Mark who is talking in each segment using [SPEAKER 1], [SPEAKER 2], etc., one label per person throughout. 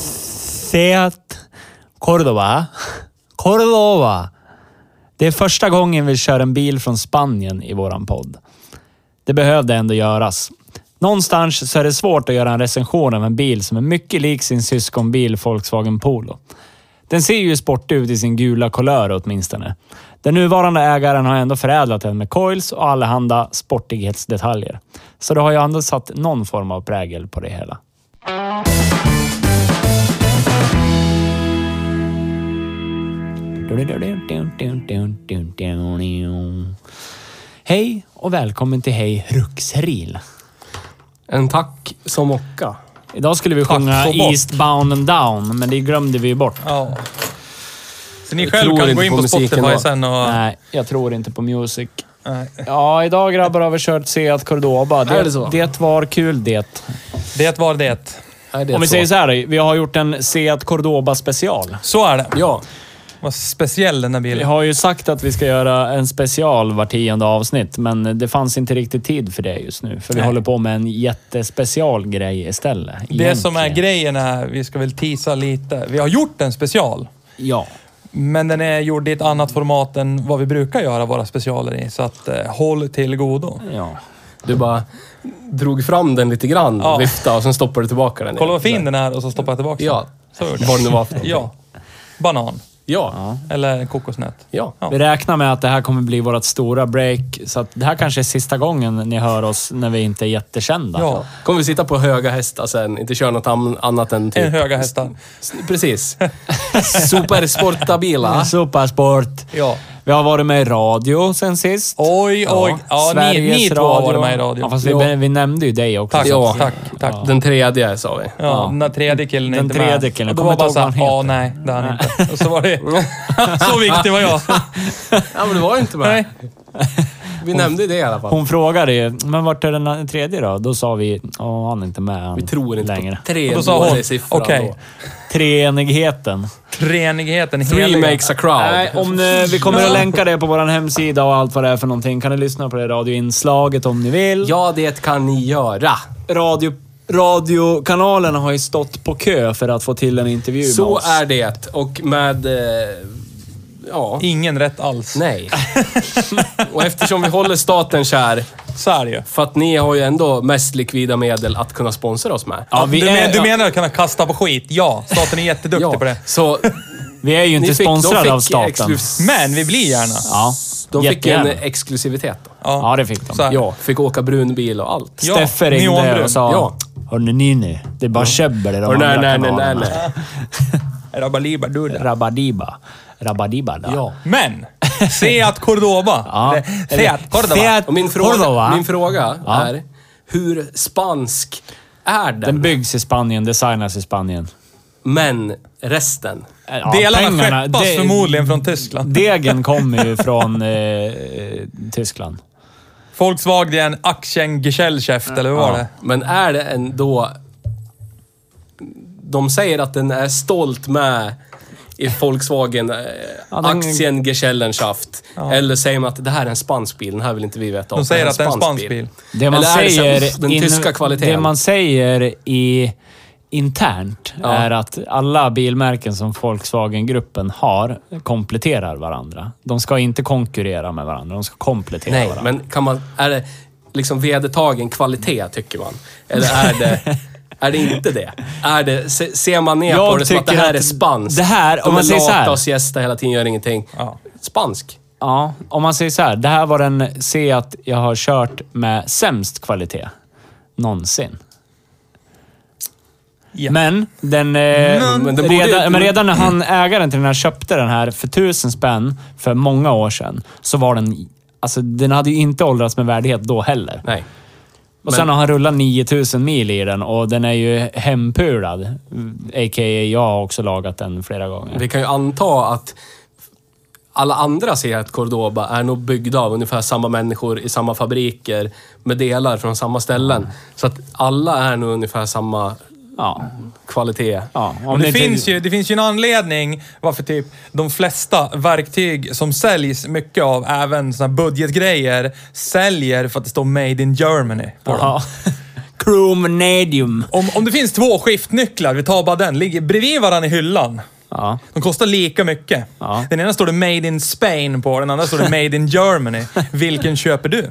[SPEAKER 1] Seat Cordova. Cordova. Det är första gången vi kör en bil från Spanien i våran podd. Det behövde ändå göras. Någonstans så är det svårt att göra en recension av en bil som är mycket lik sin syskonbil Volkswagen Polo. Den ser ju sportig ut i sin gula kulör åtminstone. Den nuvarande ägaren har ändå förädlat den med coils och allehanda sportighetsdetaljer. Så det har ju ändå satt någon form av prägel på det hela. Hej och välkommen till Hej Ruxeril.
[SPEAKER 2] En tack som mocka.
[SPEAKER 1] Idag skulle vi
[SPEAKER 3] Tack
[SPEAKER 1] sjunga
[SPEAKER 3] och bock.
[SPEAKER 1] Eastbound and down, men det glömde vi ju bort.
[SPEAKER 3] Ja. Så ni
[SPEAKER 2] Jag
[SPEAKER 3] själv
[SPEAKER 2] tror
[SPEAKER 3] kan
[SPEAKER 2] inte
[SPEAKER 3] gå in på,
[SPEAKER 2] på musiken
[SPEAKER 3] Spotify
[SPEAKER 2] då.
[SPEAKER 3] sen och...
[SPEAKER 1] Nej, jag tror inte på music.
[SPEAKER 3] Nej.
[SPEAKER 1] Ja, idag grabbar har vi kört Seat Cordoba.
[SPEAKER 2] Är det
[SPEAKER 1] Det,
[SPEAKER 2] så?
[SPEAKER 1] det var kul det.
[SPEAKER 3] Det var det.
[SPEAKER 2] Är det
[SPEAKER 1] Om vi
[SPEAKER 2] så?
[SPEAKER 1] säger så här, vi har gjort en Seat Cordoba special.
[SPEAKER 3] Så är det.
[SPEAKER 2] Ja.
[SPEAKER 3] Vad speciell den här
[SPEAKER 1] Vi
[SPEAKER 3] bilen.
[SPEAKER 1] har ju sagt att vi ska göra en special var tionde avsnitt, men det fanns inte riktigt tid för det just nu. För vi
[SPEAKER 3] Nej.
[SPEAKER 1] håller på med en jättespecial grej istället.
[SPEAKER 3] Det som är
[SPEAKER 1] egentligen.
[SPEAKER 3] grejen är, vi ska väl tisa lite. Vi har gjort en special.
[SPEAKER 1] Ja.
[SPEAKER 3] Men den är gjord i ett annat format än vad vi brukar göra våra specialer i. Så att eh, håll till godo.
[SPEAKER 1] ja.
[SPEAKER 2] Du bara drog fram den lite grann,
[SPEAKER 3] Ja.
[SPEAKER 2] viftade och sen stoppade du tillbaka den. igen.
[SPEAKER 3] Kolla vad fin den är och så stoppar jag tillbaka den.
[SPEAKER 2] Ja.
[SPEAKER 3] Så gjorde
[SPEAKER 2] Vad det nu var för
[SPEAKER 3] jag.
[SPEAKER 2] någonting.
[SPEAKER 3] Ja. Banan.
[SPEAKER 2] Ja.
[SPEAKER 3] Eller kokosnöt.
[SPEAKER 2] Ja.
[SPEAKER 3] Ja.
[SPEAKER 1] Vi räknar med att det här kommer bli vårt stora break, så att det här kanske är sista gången ni hör oss när vi inte är jättekända.
[SPEAKER 3] Ja.
[SPEAKER 2] Kommer vi sitta på höga hästar sen, inte köra något am- annat än typ...
[SPEAKER 3] En höga hästar.
[SPEAKER 2] S- Precis. Supersportabilar.
[SPEAKER 1] Supersport.
[SPEAKER 3] Ja.
[SPEAKER 1] Vi har varit med i radio sen sist.
[SPEAKER 3] Oj, oj. Ja, ni,
[SPEAKER 1] Sveriges
[SPEAKER 3] ni två har varit med i radio.
[SPEAKER 1] Ja, fast vi,
[SPEAKER 2] Ja.
[SPEAKER 1] vi nämnde ju dig också.
[SPEAKER 3] Tack,
[SPEAKER 2] Ja.
[SPEAKER 3] tack, tack. Ja.
[SPEAKER 2] Den tredje sa vi.
[SPEAKER 3] den där tredje killen är
[SPEAKER 1] Den
[SPEAKER 3] inte
[SPEAKER 1] tredje
[SPEAKER 3] med.
[SPEAKER 1] killen.
[SPEAKER 3] Och då var
[SPEAKER 1] Kommer
[SPEAKER 3] bara
[SPEAKER 1] inte ihåg
[SPEAKER 3] såhär,
[SPEAKER 1] vad
[SPEAKER 3] ja
[SPEAKER 1] han
[SPEAKER 3] nej, det är han inte. Och så var det... så viktig var jag.
[SPEAKER 2] Ja, men du var ju inte med.
[SPEAKER 3] Nej.
[SPEAKER 2] Vi nämnde det i alla fall.
[SPEAKER 1] Hon frågade ju, men vart är den tredje då? Då sa vi, ja han är inte med än
[SPEAKER 2] Vi tror inte
[SPEAKER 1] längre.
[SPEAKER 2] på tre
[SPEAKER 3] Och då sa hon,
[SPEAKER 2] dåliga siffran
[SPEAKER 3] okej.
[SPEAKER 2] då.
[SPEAKER 1] Treenigheten.
[SPEAKER 3] Treenigheten
[SPEAKER 2] Three
[SPEAKER 3] heliga.
[SPEAKER 2] makes a crowd.
[SPEAKER 1] Nej, om ni, vi kommer att länka det på vår hemsida och allt vad det är för någonting. Kan ni lyssna på det radioinslaget om ni vill.
[SPEAKER 2] Ja, det kan ni göra.
[SPEAKER 1] radio, radiokanalerna har ju stått på kö för att få till en intervju med
[SPEAKER 2] Så
[SPEAKER 1] oss.
[SPEAKER 2] är det. Och med... Eh, ja.
[SPEAKER 3] Ingen rätt alls.
[SPEAKER 2] Nej. Och eftersom vi håller staten kär,
[SPEAKER 3] Så är det ju.
[SPEAKER 2] för att ni har ju ändå mest likvida medel att kunna sponsra oss med.
[SPEAKER 1] Ja, vi,
[SPEAKER 3] du,
[SPEAKER 1] är,
[SPEAKER 3] men, du menar att kunna kasta på skit? Ja, staten är jätteduktig på det.
[SPEAKER 2] Så
[SPEAKER 1] vi är ju
[SPEAKER 2] ni
[SPEAKER 1] inte
[SPEAKER 2] fick, de
[SPEAKER 1] sponsrade
[SPEAKER 2] fick
[SPEAKER 1] av staten.
[SPEAKER 2] exklus-
[SPEAKER 3] Men vi blir gärna.
[SPEAKER 1] Ja,
[SPEAKER 2] De fick en
[SPEAKER 1] jättegärna.
[SPEAKER 2] exklusivitet. Då.
[SPEAKER 1] Ja, det fick de.
[SPEAKER 3] Så här.
[SPEAKER 2] Ja, fick åka brun bil och allt.
[SPEAKER 3] Ja,
[SPEAKER 1] Steffe ringde
[SPEAKER 3] neonbrun.
[SPEAKER 1] och sa
[SPEAKER 2] Ja.
[SPEAKER 1] Hörni ni nu, det är bara käbbel i de
[SPEAKER 2] Och
[SPEAKER 1] andra
[SPEAKER 2] nej, nej, nej, nej,
[SPEAKER 1] kanalerna.
[SPEAKER 2] nej.
[SPEAKER 3] Rabaliba, du där.
[SPEAKER 1] Rabadiba. Rabadiba da.
[SPEAKER 2] Ja.
[SPEAKER 3] Men! Seat Cordoba.
[SPEAKER 1] Ja.
[SPEAKER 3] Eller, Seat Cordoba.
[SPEAKER 1] Seat-
[SPEAKER 2] Och min fråga,
[SPEAKER 1] Cordova.
[SPEAKER 2] min fråga
[SPEAKER 1] Ja.
[SPEAKER 2] är, hur spansk är den?
[SPEAKER 1] Den byggs i Spanien, designas i Spanien.
[SPEAKER 2] Men resten?
[SPEAKER 1] Ja,
[SPEAKER 3] Delarna
[SPEAKER 1] pengarna-
[SPEAKER 3] skeppas
[SPEAKER 1] de-
[SPEAKER 3] förmodligen från Tyskland.
[SPEAKER 1] Degen kommer ju från eh, Tyskland.
[SPEAKER 3] Volkswagen Aktiengesellschaft, eller hur var det?
[SPEAKER 2] Men är det ändå... De säger att den är stolt med i Volkswagen eh,
[SPEAKER 1] Ja, den-
[SPEAKER 2] Aktiengesellenschaft. Eller säger man att det här är en spansk bil, den här vill inte vi veta om.
[SPEAKER 3] De säger att det är en spansk bil.
[SPEAKER 1] Det man
[SPEAKER 2] Eller är det
[SPEAKER 1] säger...
[SPEAKER 2] sen den
[SPEAKER 1] in-
[SPEAKER 2] tyska kvaliteten?
[SPEAKER 1] Det man säger i internt är att alla bilmärken som Volkswagen-gruppen har kompletterar varandra. De ska inte konkurrera med varandra, de ska komplettera
[SPEAKER 2] Nej,
[SPEAKER 1] varandra.
[SPEAKER 2] men kan man... Är det liksom vedertagen kvalitet, tycker man? Eller är det... Är det inte det? Är det se, ser man ner
[SPEAKER 1] Jag
[SPEAKER 2] på det som att det
[SPEAKER 1] tycker
[SPEAKER 2] här
[SPEAKER 1] att
[SPEAKER 2] är spanskt?
[SPEAKER 1] det här- om
[SPEAKER 2] De
[SPEAKER 1] man
[SPEAKER 2] är
[SPEAKER 1] säger så här.
[SPEAKER 2] lata och siesta hela tiden, gör ingenting.
[SPEAKER 3] Ja.
[SPEAKER 2] Spansk.
[SPEAKER 1] Ja, om man säger så här. Det här var den Seat jag har kört med sämst kvalitet någonsin.
[SPEAKER 3] Ja.
[SPEAKER 1] Men, den, eh,
[SPEAKER 2] Men den borde ju-
[SPEAKER 1] redan, men redan när han, ägaren till den här köpte den här för tusen spänn för många år sedan, så var den... Alltså, den hade ju inte åldrats med värdighet då heller.
[SPEAKER 2] Nej.
[SPEAKER 1] Och sen har han rullat 9000 mil i den och den är ju hempulad. A.k.a. jag har också lagat den flera gånger.
[SPEAKER 2] Vi kan ju anta att alla andra Seat Cordoba är nog byggda av ungefär samma människor i samma fabriker med delar från samma ställen.
[SPEAKER 3] Mm.
[SPEAKER 2] Så att alla är nog ungefär samma
[SPEAKER 1] Ja.
[SPEAKER 2] kvalitet.
[SPEAKER 1] ja. Om
[SPEAKER 3] Men det,
[SPEAKER 1] inte-
[SPEAKER 3] finns ju, det finns ju en anledning varför typ de flesta verktyg som säljs mycket av, även såna här budgetgrejer, säljer för att det står Made in Germany på dem.
[SPEAKER 1] Ja. Chromnadium.
[SPEAKER 3] Om, om det finns två skiftnycklar, vi tar bara den, ligger bredvid varandra i hyllan.
[SPEAKER 1] Ja.
[SPEAKER 3] De kostar lika mycket.
[SPEAKER 1] Ja.
[SPEAKER 3] Den ena står det Made in Spain på, den andra står det Made in Germany. Vilken köper du?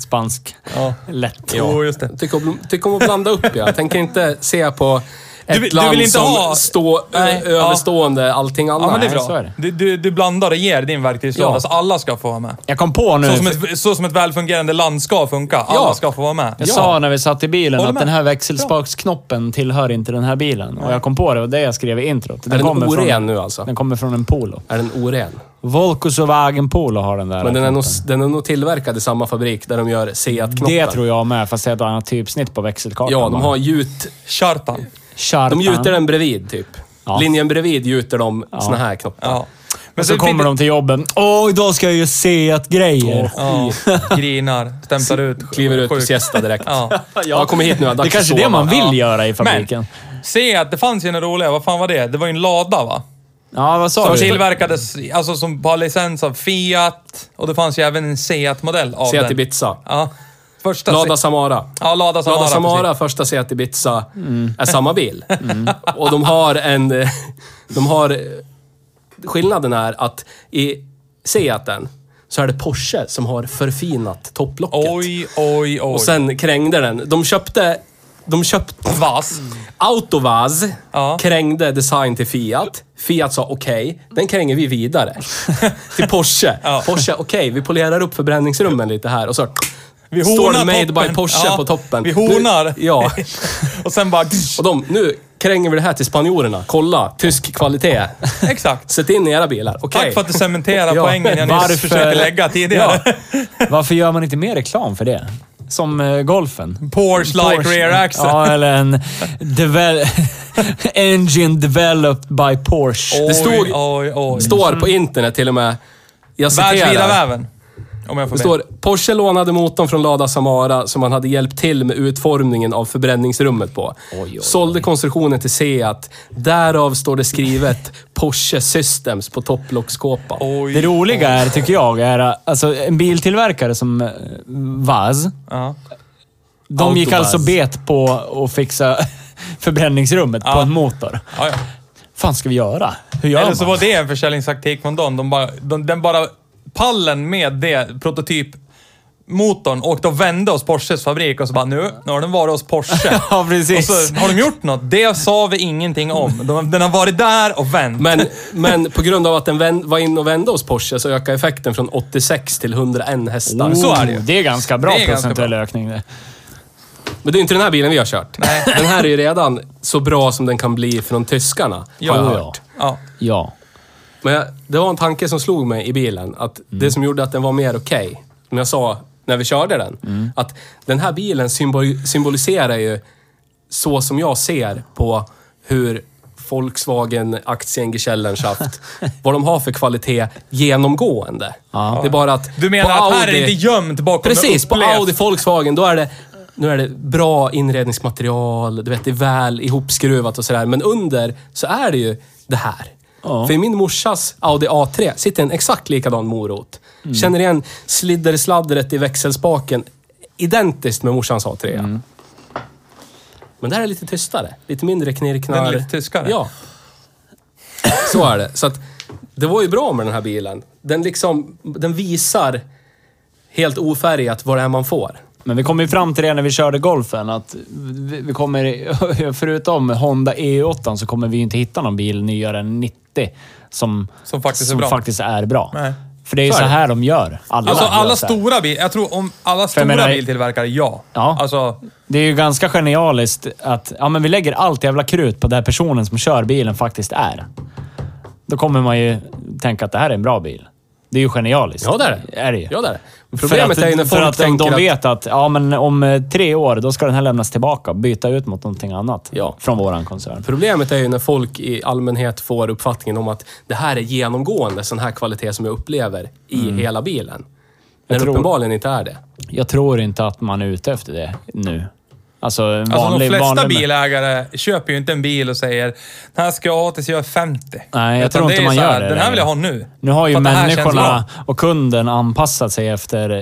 [SPEAKER 1] Spansk.
[SPEAKER 3] Ja.
[SPEAKER 1] Lätt.
[SPEAKER 3] Jo, just det.
[SPEAKER 2] Tycker om, tyck om att blanda upp, ja. Jag tänker inte se på ett
[SPEAKER 3] Du vill- du
[SPEAKER 2] land
[SPEAKER 3] vill inte
[SPEAKER 2] som
[SPEAKER 3] ha-
[SPEAKER 2] står ö-
[SPEAKER 3] Nej, ja.
[SPEAKER 2] överstående allting annat.
[SPEAKER 3] Ja, men det är
[SPEAKER 1] så
[SPEAKER 3] bra.
[SPEAKER 1] är det.
[SPEAKER 3] Du, du, du blandar och ger din verktygslåda,
[SPEAKER 2] Ja.
[SPEAKER 3] så alla ska få vara med.
[SPEAKER 1] Jag kom på nu.
[SPEAKER 3] Så som, ett, så som ett välfungerande land ska funka. Alla
[SPEAKER 2] Ja.
[SPEAKER 3] ska få vara med.
[SPEAKER 1] jag sa när vi satt i bilen
[SPEAKER 3] Håller
[SPEAKER 1] att
[SPEAKER 3] med.
[SPEAKER 1] den här växelspaksknoppen tillhör inte den här bilen. Och jag kom på det och det jag skrev i introt. Den
[SPEAKER 2] Är den oren
[SPEAKER 1] från,
[SPEAKER 2] nu alltså?
[SPEAKER 1] Den kommer från en Polo.
[SPEAKER 2] Är den oren?
[SPEAKER 1] Volkswagen Polo har den där.
[SPEAKER 2] Men den är, nog,
[SPEAKER 1] knoppen.
[SPEAKER 2] den är nog tillverkad i samma fabrik där de gör Seat-knoppen.
[SPEAKER 1] Det tror jag med, fast det är ett annat typsnitt på växelkartan.
[SPEAKER 2] Ja, de
[SPEAKER 1] bara.
[SPEAKER 2] har gjut...
[SPEAKER 3] Chartan.
[SPEAKER 1] Chartan.
[SPEAKER 2] De gjuter den bredvid, typ.
[SPEAKER 1] Ja.
[SPEAKER 2] Linjen bredvid gjuter de såna här knoppar.
[SPEAKER 3] Ja.
[SPEAKER 1] Men så
[SPEAKER 3] det-
[SPEAKER 1] kommer de till jobben. Åh, idag ska jag ju se att grejer.
[SPEAKER 3] Ja, grinar, stämplar ut.
[SPEAKER 2] Kliver ut på
[SPEAKER 3] sjukt.
[SPEAKER 2] siesta direkt.
[SPEAKER 3] Ja.
[SPEAKER 2] Ja, kom hit nu. jag har
[SPEAKER 1] det är
[SPEAKER 2] dags
[SPEAKER 1] kanske
[SPEAKER 2] att
[SPEAKER 1] det
[SPEAKER 2] sova.
[SPEAKER 1] man vill
[SPEAKER 3] Ja.
[SPEAKER 1] göra i
[SPEAKER 3] Men,
[SPEAKER 1] fabriken.
[SPEAKER 3] se att det fanns ju en roliga, vad fan var det? Det var ju en lada va?
[SPEAKER 1] ja, vad sa
[SPEAKER 3] Som
[SPEAKER 1] du?
[SPEAKER 3] tillverkades, alltså som på licens av Fiat. Och det fanns ju även en Seat-modell av
[SPEAKER 2] Seat
[SPEAKER 3] den.
[SPEAKER 2] Ibiza.
[SPEAKER 3] Ja. Första
[SPEAKER 2] Lada
[SPEAKER 3] Se-
[SPEAKER 2] Samara.
[SPEAKER 3] Ja, Lada Samara.
[SPEAKER 2] Lada Samara,
[SPEAKER 3] precis.
[SPEAKER 2] första Seat Ibiza,
[SPEAKER 1] Mm.
[SPEAKER 2] är samma bil. Och de har en... eh, De har... eh, Skillnaden är att i Seaten så är det Porsche som har förfinat topplocket.
[SPEAKER 3] Oj, oj, oj.
[SPEAKER 2] Och sen krängde den. De köpte... De köpte...
[SPEAKER 3] Vass.
[SPEAKER 2] Autovaz
[SPEAKER 3] Ja.
[SPEAKER 2] krängde design till Fiat. Fiat sa okej, den kränger vi vidare. till Porsche.
[SPEAKER 3] Ja.
[SPEAKER 2] Porsche, okej, vi polerar upp förbränningsrummen lite här och så...
[SPEAKER 3] Vi
[SPEAKER 2] Står
[SPEAKER 3] honar
[SPEAKER 2] det made
[SPEAKER 3] toppen.
[SPEAKER 2] by Porsche
[SPEAKER 3] Ja,
[SPEAKER 2] på toppen.
[SPEAKER 3] vi honar.
[SPEAKER 2] Nu, ja.
[SPEAKER 3] Och sen bara...
[SPEAKER 2] Och de, nu kränger vi det här till spanjorerna. Kolla, tysk kvalitet.
[SPEAKER 3] Exakt.
[SPEAKER 2] Sätt in era bilar. Okej.
[SPEAKER 3] Tack för att du cementerar
[SPEAKER 2] Ja.
[SPEAKER 3] poängen jag nyss
[SPEAKER 1] Varför-
[SPEAKER 3] försökte lägga tidigare.
[SPEAKER 1] Varför gör man inte mer reklam för det? Som eh, golfen.
[SPEAKER 3] Porsche like rear axle.
[SPEAKER 1] Ja, eller en devel engine developed by Porsche.
[SPEAKER 3] Oj,
[SPEAKER 2] stod-
[SPEAKER 3] Oj, oj.
[SPEAKER 2] Står på internet till och med. Jag
[SPEAKER 3] Världsvida
[SPEAKER 2] citerar.
[SPEAKER 3] väven. Om jag får
[SPEAKER 2] Det
[SPEAKER 3] be.
[SPEAKER 2] står Porsche lånade motorn från Lada Samara som man hade hjälpt till med utformningen av förbränningsrummet på.
[SPEAKER 1] oj.
[SPEAKER 2] Sålde konstruktionen till Seat. Därav står det skrivet Porsche Systems på topplockskåpan.
[SPEAKER 3] Oj.
[SPEAKER 1] Det roliga är, tycker jag, är eh, alltså en biltillverkare som eh, Vaz.
[SPEAKER 3] Ja.
[SPEAKER 1] De gick
[SPEAKER 2] Autobaz.
[SPEAKER 1] alltså bet på att fixa förbränningsrummet på en motor.
[SPEAKER 3] Ja, ja.
[SPEAKER 1] fan ska vi göra? Hur gör
[SPEAKER 3] Eller
[SPEAKER 1] man?
[SPEAKER 3] så var det en försäljningstaktik från dem. De bara, de, den bara... Pallen med det, prototyp motorn åkte och vände hos Porsches fabrik och så bara nu, nu har den varit hos Porsche.
[SPEAKER 1] Ja,
[SPEAKER 3] och
[SPEAKER 1] precis.
[SPEAKER 3] så har de gjort något. Det sa vi ingenting om. De, den har varit där och vänt.
[SPEAKER 2] Men, men på grund av att den vänd, var in och vände hos Porsche så ökade effekten från 86 till 101 hästar.
[SPEAKER 1] Oh,
[SPEAKER 3] så är det ju.
[SPEAKER 1] Det är ganska bra
[SPEAKER 3] Det är ganska
[SPEAKER 1] procentuell ökning det.
[SPEAKER 2] Men det är inte den här bilen vi har kört. Den här är ju redan så bra som den kan bli från tyskarna.
[SPEAKER 3] Ja.
[SPEAKER 2] har jag
[SPEAKER 1] Oh,
[SPEAKER 2] hört.
[SPEAKER 1] ja.
[SPEAKER 3] Ja.
[SPEAKER 1] ja.
[SPEAKER 2] Men jag, det var en tanke som slog mig i bilen. Att Det som gjorde att den var mer okej, som jag sa när vi körde den. Att den här bilen symbol, symboliserar ju så som jag ser på hur Volkswagen Aktiengesellenschaft, vad de har för kvalitet genomgående. Det är bara att...
[SPEAKER 3] Du menar
[SPEAKER 2] på
[SPEAKER 3] att här är
[SPEAKER 2] Audi-
[SPEAKER 3] det inte gömt bakom
[SPEAKER 2] Precis, på
[SPEAKER 3] upplevt-
[SPEAKER 2] Audi Volkswagen, då är det... Nu är det bra inredningsmaterial, du vet, det är väl ihopskruvat och sådär. Men under så är det ju det här.
[SPEAKER 1] Ja.
[SPEAKER 2] För i min morsas Audi A3 sitter en exakt likadan morot.
[SPEAKER 3] Mm.
[SPEAKER 2] Känner igen sliddersladdret i växelspaken. Identiskt med morsans A3.
[SPEAKER 3] Mm.
[SPEAKER 2] Men det här är lite tystare. Lite mindre knirknar.
[SPEAKER 3] Den är lite tyskare.
[SPEAKER 2] Ja. Så är det. Så att, det var ju bra med den här bilen. Den liksom, den visar helt ofärgat vad det är man får.
[SPEAKER 1] Men vi kom ju fram till det när vi körde golfen, att vi vi kommer, förutom Honda E8 så kommer vi ju inte hitta någon bil nyare än 90 som,
[SPEAKER 3] Som faktiskt är
[SPEAKER 1] som
[SPEAKER 3] bra.
[SPEAKER 1] faktiskt är bra.
[SPEAKER 3] Nej.
[SPEAKER 1] För det är ju
[SPEAKER 2] Så
[SPEAKER 1] så,
[SPEAKER 2] är det.
[SPEAKER 1] här de gör. Alla,
[SPEAKER 3] Alltså
[SPEAKER 1] gör
[SPEAKER 3] alla
[SPEAKER 1] så här.
[SPEAKER 3] stora bilar, jag tror om alla stora
[SPEAKER 1] menar-
[SPEAKER 3] biltillverkare, ja.
[SPEAKER 1] Ja.
[SPEAKER 3] Alltså,
[SPEAKER 1] Det är ju ganska genialiskt att ja, men vi lägger allt jävla krut på där personen som kör bilen faktiskt är. Då kommer man ju tänka att det här är en bra bil. Det är ju genialiskt.
[SPEAKER 2] Ja, det är det.
[SPEAKER 1] Är det ju.
[SPEAKER 2] Ja, det är det. Men
[SPEAKER 1] För
[SPEAKER 2] Problemet
[SPEAKER 1] att-
[SPEAKER 2] är ju när folk
[SPEAKER 1] För att de,
[SPEAKER 2] tänker
[SPEAKER 1] de
[SPEAKER 2] att...
[SPEAKER 1] vet att ja, men om eh, tre år, då ska den här lämnas tillbaka. Byta ut mot någonting annat
[SPEAKER 2] Ja.
[SPEAKER 1] från våran koncern.
[SPEAKER 2] Problemet är ju när folk i allmänhet får uppfattningen om att det här är genomgående sån här kvalitet som jag upplever i hela bilen. När det
[SPEAKER 1] Mm. tror-
[SPEAKER 2] uppenbarligen inte är det.
[SPEAKER 1] Jag tror inte att man är ute efter det nu. Alltså, en vanlig,
[SPEAKER 3] alltså de flesta
[SPEAKER 1] vanlig,
[SPEAKER 3] bilägare köper ju inte en bil och säger den här ska jag ha tills jag är 50.
[SPEAKER 1] Nej, jag
[SPEAKER 3] Utan
[SPEAKER 1] tror inte
[SPEAKER 3] är
[SPEAKER 1] man
[SPEAKER 3] så
[SPEAKER 1] gör
[SPEAKER 3] Den
[SPEAKER 1] det
[SPEAKER 3] här
[SPEAKER 1] längre.
[SPEAKER 3] vill jag ha nu.
[SPEAKER 1] Nu har ju
[SPEAKER 3] För att det här känns bra.
[SPEAKER 1] människorna och kunden anpassat sig efter eh,